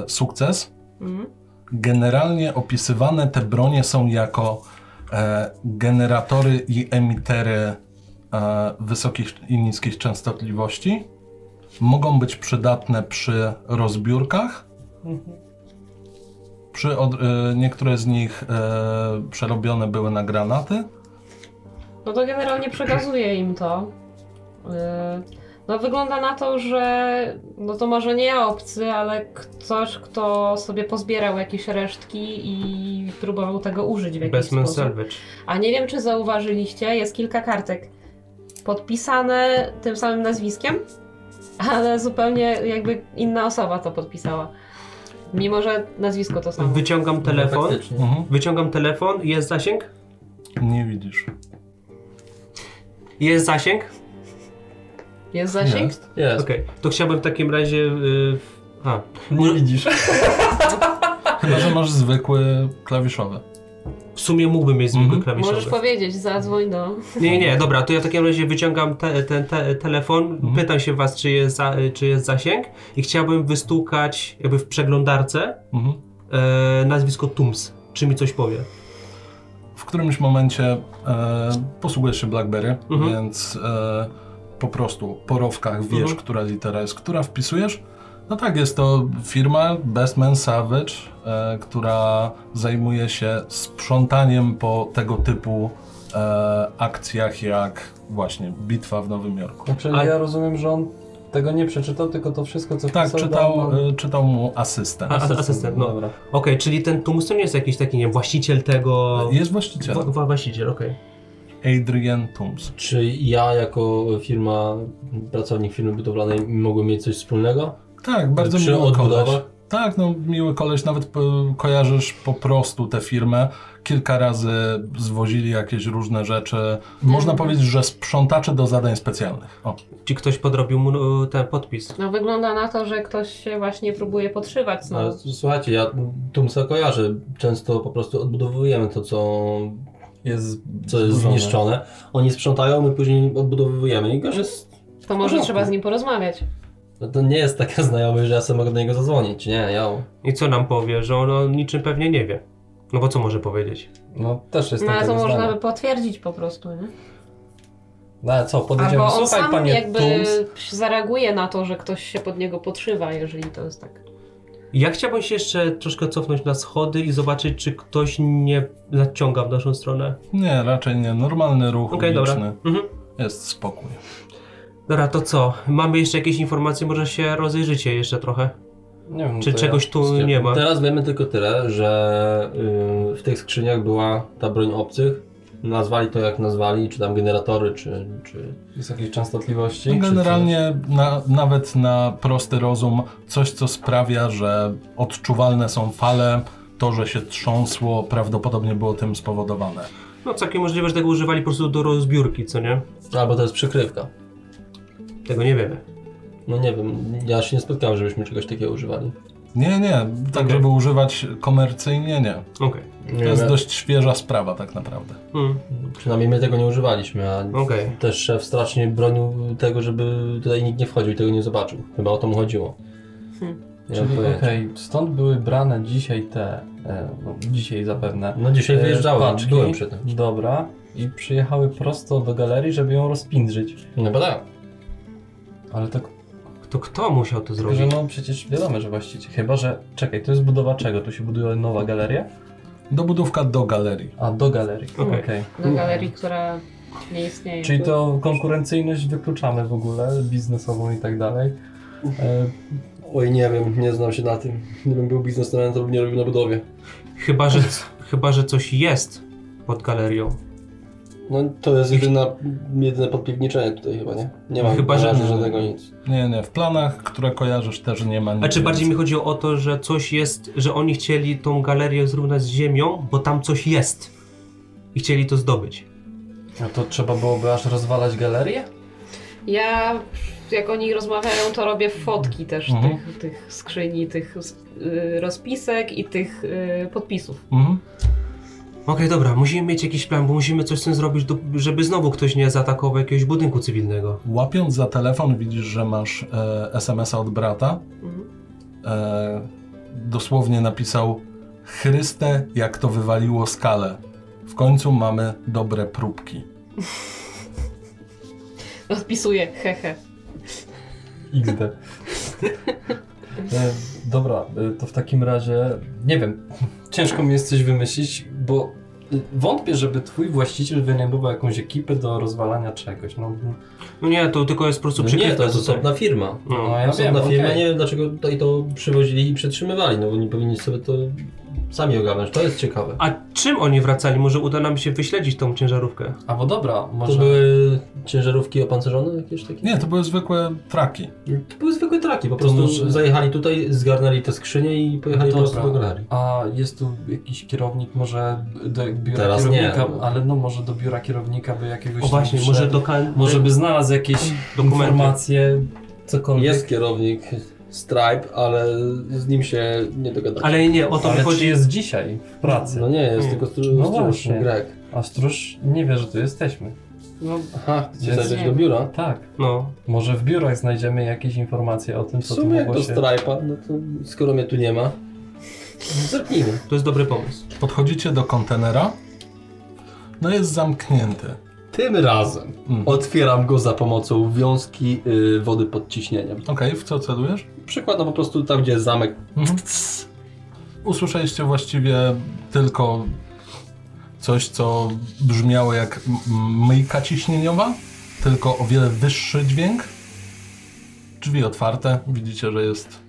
S1: sukces,
S5: Mm.
S1: generalnie opisywane te bronie są jako e, generatory i emitery e, wysokich i niskich częstotliwości. Mogą być przydatne przy rozbiórkach. Przy od, e, niektóre z nich e, przerobione były na granaty.
S5: No to generalnie przekazuję im to. Yy, No wygląda na to, że no to może nie ja obcy, ale ktoś, kto sobie pozbierał jakieś resztki i próbował tego użyć w jakiś
S2: Bestman
S5: sposób.
S2: Salvage.
S5: A nie wiem, czy zauważyliście, jest kilka kartek podpisane tym samym nazwiskiem, ale zupełnie jakby inna osoba to podpisała. Mimo, że nazwisko to samo.
S2: Wyciągam telefon.
S4: Faktycznie.
S1: Mhm.
S2: Wyciągam telefon. Jest zasięg?
S1: Nie widzisz.
S2: Jest zasięg?
S5: Jest zasięg?
S1: Jest.
S4: Jest.
S2: Okej. To chciałbym w takim razie... y, a,
S4: Nie widzisz.
S1: Chyba, że masz zwykły klawiszowy.
S2: w sumie mógłbym mieć zwykły
S1: Mhm.
S2: klawiszowy.
S5: Możesz powiedzieć, zadzwoń do...
S2: Nie, nie, dobra, to ja w takim razie wyciągam te, ten te, telefon, pytam się was, czy jest, za, czy jest zasięg i chciałbym wystukać jakby w przeglądarce
S1: Mhm.
S2: e, nazwisko Tums, czy mi coś powie.
S1: W którymś momencie e, posługujesz się BlackBerry,
S2: Mhm.
S1: więc e, po prostu po rowkach wiesz,
S2: Mhm.
S1: która litera jest, która wpisujesz. No tak, jest to firma Bestman Savage, e, która zajmuje się sprzątaniem po tego typu e, akcjach jak właśnie bitwa w Nowym Jorku.
S4: Znaczy,
S2: A-
S4: ja rozumiem, że on tego nie przeczytał, tylko to wszystko, co
S1: Tak,
S4: wpisał,
S1: czytał,
S4: dał nam
S1: e, czytał mu asystent.
S2: A- asystent, no.
S4: Dobra.
S2: Okej, czyli ten Tums to nie jest jakiś taki, nie wiem, właściciel tego...
S1: No, Jest właścicielem.
S2: Wa- Właściciel, okej.
S1: Adrian Toombs.
S3: Czy ja jako firma, pracownik firmy budowlanej mogłem mieć coś wspólnego?
S1: Tak, bardzo
S3: Przy
S1: miły koleś.
S3: odbudowach?
S1: Tak, no miły koleś, nawet po- kojarzysz po prostu tę firmę. Kilka razy zwozili jakieś różne rzeczy. Można
S2: Mhm.
S1: powiedzieć, że sprzątacze do zadań specjalnych. O,
S2: Czy ktoś podrobił mu e, ten podpis?
S5: No wygląda na to, że ktoś się właśnie próbuje podszywać. No.
S3: Ale s- słuchajcie, ja Tumsa kojarzę. Często po prostu odbudowujemy to, co,
S4: Jest
S3: co jest
S4: zburzone.
S3: zniszczone. Oni sprzątają, my później odbudowujemy i gość jest...
S5: To może
S3: porządku.
S5: trzeba z nim porozmawiać.
S3: no To nie jest taka znajomy, że ja sobie mogę do niego zadzwonić. Nie, ja...
S2: I co nam powie, że on o niczym pewnie nie wie? No bo co może powiedzieć?
S4: No też jest
S5: No ale
S4: tak.
S5: to można by potwierdzić po prostu, nie?
S4: No ale co, podejdziemy,
S5: Albo on
S4: słuchaj
S5: sam
S4: panie
S5: jakby
S4: Tums.
S5: zareaguje na to, że ktoś się pod niego podszywa, jeżeli to jest tak.
S2: Ja chciałbym się jeszcze troszkę cofnąć na schody i zobaczyć, czy ktoś nie naciąga w naszą stronę.
S1: nie, raczej nie. Normalny ruch
S2: Okej, dobra.
S1: uliczny.
S2: Mhm.
S1: Jest spokój. No,
S2: Dobra, to co? Mamy jeszcze jakieś informacje, może się rozejrzycie jeszcze trochę.
S4: Nie wiem,
S2: Czy
S4: No to
S2: czegoś
S4: ja
S2: tu
S4: wszystkie-
S2: nie ma?
S3: Teraz wiemy tylko tyle, że ym, w tych skrzyniach była ta broń obcych. Nazwali to jak nazwali, czy tam generatory, czy... czy...
S4: Wysokiej częstotliwości.
S1: No,
S4: czy-
S1: generalnie na, nawet na prosty rozum coś, co sprawia, że odczuwalne są fale, to, że się trząsło, prawdopodobnie było tym spowodowane.
S2: No całkiem możliwe, że tego używali po prostu do rozbiórki, co nie?
S3: Albo to jest przykrywka.
S2: Tego nie wiemy.
S3: No nie wiem, ja się nie spotkałem, żebyśmy czegoś takiego używali.
S1: Nie, nie, tak
S2: Okej.
S1: żeby używać komercyjnie, nie.
S2: Okej.
S1: To jest dość świeża sprawa tak naprawdę.
S2: Mm,
S3: Przynajmniej my tego nie używaliśmy, a
S2: Okej.
S3: też szef strasznie bronił tego, żeby tutaj nikt nie wchodził i tego nie zobaczył. Chyba o to mu chodziło.
S5: Hmm.
S3: Nie mam
S7: Czyli okej,
S3: pojęcia.
S7: stąd były brane dzisiaj te, e, no, dzisiaj zapewne,
S3: No dzisiaj
S7: E,
S3: wyjeżdżałem,
S7: paczki.
S3: byłem przy tym.
S7: dobra, i przyjechały prosto do galerii, żeby ją rozpindrzyć.
S3: No bo tak.
S7: Ale to
S2: To kto musiał to
S7: tylko, że
S2: zrobić?
S7: no przecież wiadomo, że właściciel, chyba że, czekaj, to jest budowa czego? Tu się buduje nowa galeria?
S1: Dobudówka do galerii.
S7: A, do galerii,
S2: Okej.
S7: okej.
S5: Do galerii, która nie istnieje.
S7: Czyli to konkurencyjność wykluczamy w ogóle, biznesową i tak dalej. E,
S3: Oj, nie wiem, nie znam się na tym. Gdybym był biznesmenem, to bym nie robił na budowie.
S2: Chyba, że, chyba, że coś jest pod galerią.
S3: No to jest jedyna, jedyne podpiwniczenie tutaj chyba, nie? Nie mam
S2: Chyba,
S3: na
S2: że-
S3: razie żadnego nic.
S1: Nie, nie, w planach, które kojarzysz też nie ma nic.
S2: A czy bardziej mi
S1: więcej.
S2: chodziło o to, że coś jest, że oni chcieli tą galerię zrównać z ziemią, bo tam coś jest. I chcieli to zdobyć.
S7: no to trzeba byłoby aż rozwalać galerię?
S5: Ja, jak oni rozmawiają, to robię fotki też
S1: Mhm.
S5: tych, tych skrzyni, tych y, rozpisek i tych y, podpisów.
S1: Mhm.
S2: Okej, dobra, musimy mieć jakiś plan, bo musimy coś z tym zrobić, do- żeby znowu ktoś nie zaatakował jakiegoś budynku cywilnego.
S1: Łapiąc za telefon widzisz, że masz e, SMS-a od brata.
S5: Mhm.
S1: E, dosłownie napisał Chryste, jak to wywaliło skalę. W końcu mamy dobre próbki.
S5: Odpisuję, hehe.
S7: XD. E, dobra, e, to w takim razie, nie wiem,
S4: Ciężko mi jest coś wymyślić, bo y, wątpię, żeby twój właściciel wynajmował jakąś ekipę do rozwalania czegoś. No,
S2: No nie, to tylko jest po prostu
S3: No
S2: przykrywka
S3: nie, to jest
S2: tutaj.
S3: osobna firma.
S2: No.
S4: no ja wiem,
S3: Osobna firma,
S4: okej.
S3: nie wiem dlaczego tutaj to przywozili i przetrzymywali, no bo nie powinni sobie to sami ogarnąć, to jest ciekawe.
S2: A czym oni wracali? Może uda nam się wyśledzić tą ciężarówkę?
S4: A bo dobra, może...
S3: To były ciężarówki opancerzone jakieś takie? No,
S1: Nie, to były zwykłe traki.
S3: To były zwykłe traki, po
S4: To
S3: prostu
S4: może- No
S3: zajechali tutaj, zgarnęli te skrzynie i pojechali po
S4: Dobra.
S3: prostu do galerii.
S4: A jest tu jakiś kierownik, może do biura
S3: Teraz
S4: kierownika,
S3: nie.
S4: ale no może do biura kierownika by jakiegoś
S2: O
S4: tam
S2: właśnie,
S4: wszedł.
S2: może do kan-
S4: Może by znalazł jakieś
S2: Dokumenty.
S4: informacje, cokolwiek.
S3: Jest kierownik Stripe, ale z nim się nie dogadałem.
S2: Ale nie, o to mi
S7: ale czy
S2: chodzi.
S7: jest dzisiaj w pracy?
S3: No nie, jest
S4: hmm.
S2: Mm.
S3: tylko stru...
S7: No
S3: stróż,
S7: właśnie.
S3: Grek.
S7: A stróż nie wie, że tu jesteśmy.
S5: No,
S3: Aha, chcesz
S7: Jest-
S3: zajrzeć do biura?
S7: Tak,
S2: No,
S7: może w biurach znajdziemy jakieś informacje o tym,
S3: W
S7: co tu
S3: sumie jak
S7: mogło
S3: do
S7: się...
S3: Stripe'a, no to skoro mnie tu nie ma, zerknijmy.
S2: to jest dobry pomysł.
S1: Podchodzicie do kontenera. No jest zamknięty.
S3: Tym razem
S1: Mhm.
S3: otwieram go za pomocą wiązki y, wody pod ciśnieniem.
S1: Okej, w co celujesz?
S3: Przykładam po prostu tam, gdzie jest zamek.
S1: Mhm. Usłyszeliście właściwie tylko coś, co brzmiało jak m- m- myjka ciśnieniowa, tylko o wiele wyższy dźwięk. Drzwi otwarte, widzicie, że jest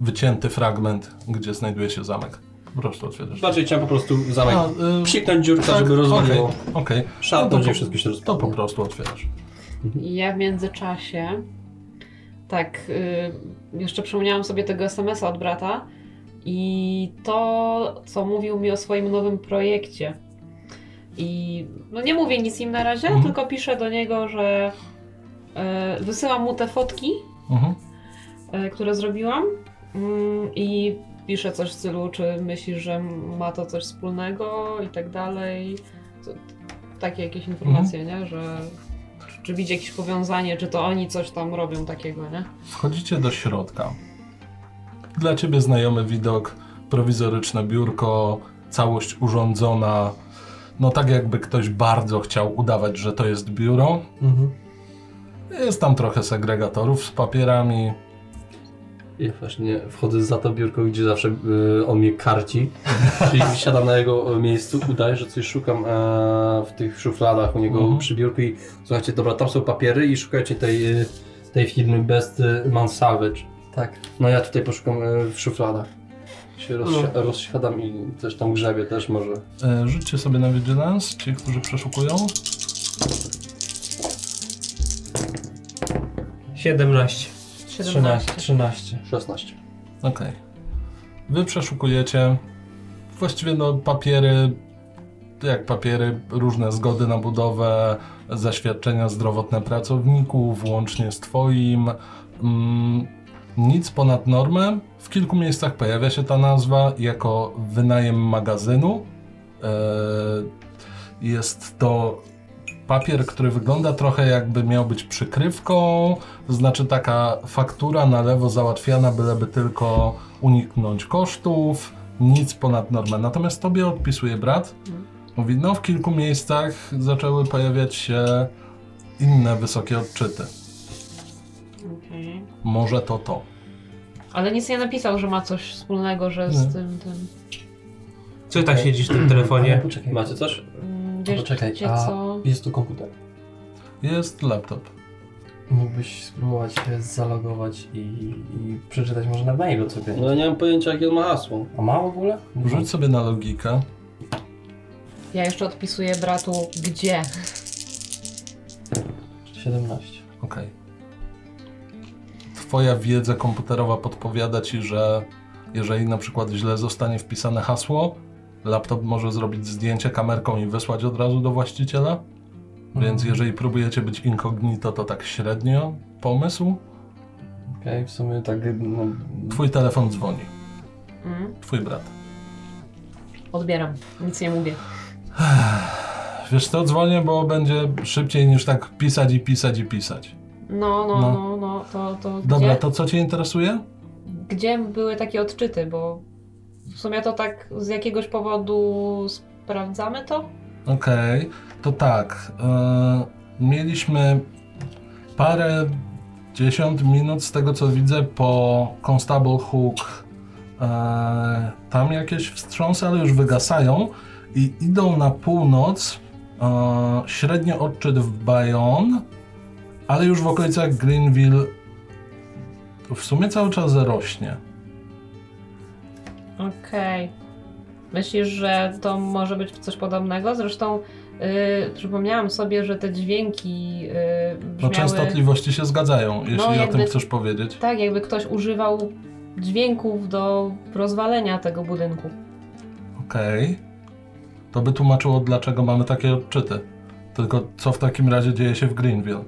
S1: wycięty fragment, gdzie znajduje się zamek. Po prostu otwierasz.
S3: Bardziej chciałem po prostu zamek
S1: A, y,
S3: psiknąć dziurka,
S1: tak,
S3: żeby rozwaliło.
S1: Okej, okej.
S3: Szarpnąć
S1: No to po-
S3: i wszystko się
S1: to po
S3: rozpadnie.
S1: prostu otwierasz.
S5: ja w międzyczasie, tak, y, jeszcze przypomniałam sobie tego SMS-a od brata i to, co mówił mi o swoim nowym projekcie. I no nie mówię nic im na razie,
S1: Mhm.
S5: tylko piszę do niego, że y, wysyłam mu te fotki
S1: Mhm.
S5: e, które zrobiłam Mm, i pisze coś w stylu, czy myślisz, że ma to coś wspólnego i tak dalej. To- Takie jakieś informacje, nie? Że czy, czy widzi jakieś powiązanie, czy to oni coś tam robią takiego, nie?
S1: Wchodzicie do środka. Dla ciebie znajomy widok, prowizoryczne biurko, całość urządzona. No tak jakby ktoś bardzo chciał udawać, że to jest biuro.
S3: mhm.
S1: Jest tam trochę segregatorów z papierami.
S3: Ja właśnie wchodzę za to biurko, gdzie zawsze y, on mnie karci. Czyli siadam na jego e, miejscu, udaję, że coś szukam e, w tych szufladach u niego
S1: Mhm.
S3: przy biurku i słuchajcie, dobra, tam są papiery i szukajcie tej, y, tej firmy Best y, Man Salvage.
S7: Tak.
S3: No ja tutaj poszukam e, w szufladach. Się rozsi- rozsiadam i też tam grzebię też może.
S1: E, Rzućcie sobie na vigilance, ci, którzy przeszukują.
S2: 17.
S7: 13, 13.
S3: 16.
S1: Okej. Wy przeszukujecie. Właściwie no papiery, jak papiery, różne zgody na budowę, zaświadczenia zdrowotne pracowników, łącznie z twoim. Mm, Nic ponad normę. W kilku miejscach pojawia się ta nazwa jako wynajem magazynu. E, Jest to papier, który wygląda trochę jakby miał być przykrywką, to znaczy taka faktura na lewo załatwiana, byleby tylko uniknąć kosztów, nic ponad normę. Natomiast tobie odpisuje brat. Mówi, no w kilku miejscach zaczęły pojawiać się inne wysokie odczyty.
S5: Okej.
S1: Może to to.
S5: Ale nic nie napisał, że ma coś wspólnego, że z tym, tym...
S2: Co ty tak siedzisz w tym telefonie?
S4: Poczekaj, macie coś?
S5: Mm, Wiesz,
S4: Poczekaj,
S5: wiecie
S4: a-
S5: co?
S4: Jest tu komputer.
S1: Jest laptop.
S7: Mógłbyś spróbować się zalogować i, i przeczytać może na mailu sobie.
S3: No ja nie mam pojęcia jakie on ma hasło.
S7: A ma w ogóle?
S1: Rzuć sobie na logikę.
S5: Ja jeszcze odpisuję bratu, gdzie?
S7: 17.
S1: Okej. Twoja wiedza komputerowa podpowiada ci, że jeżeli na przykład źle zostanie wpisane hasło, laptop może zrobić zdjęcie kamerką i wysłać od razu do właściciela. Więc jeżeli próbujecie być incognito, to tak średnio pomysł.
S7: Okej, w sumie tak no,
S1: Twój telefon dzwoni.
S5: Mm?
S1: Twój brat.
S5: Odbieram, nic nie mówię.
S1: Wiesz co, dzwonię, bo będzie szybciej niż tak pisać i pisać i pisać.
S5: No, no,
S1: No.
S5: no, no, to, to
S1: Dobra,
S5: gdzie,
S1: to co cię interesuje?
S5: gdzie były takie odczyty, bo w sumie to tak z jakiegoś powodu sprawdzamy to?
S1: Okej, to tak. Yy, mieliśmy parę dziesiąt minut z tego co widzę po Constable Hook. Yy, tam jakieś wstrząsy, ale już wygasają i idą na północ. Yy, średnio odczyt w Bayonne, ale już w okolicach Greenville w sumie cały czas rośnie.
S5: Okej. Myślisz, że to może być coś podobnego? Zresztą yy, przypomniałam sobie, że te dźwięki yy,
S1: No
S5: brzmiały... no,
S1: częstotliwości się zgadzają, jeśli o
S5: jakby-
S1: tym chcesz powiedzieć.
S5: Tak, jakby ktoś używał dźwięków do rozwalenia tego budynku.
S1: Okej. To by tłumaczyło, dlaczego mamy takie odczyty. Tylko co w takim razie dzieje się w Greenville?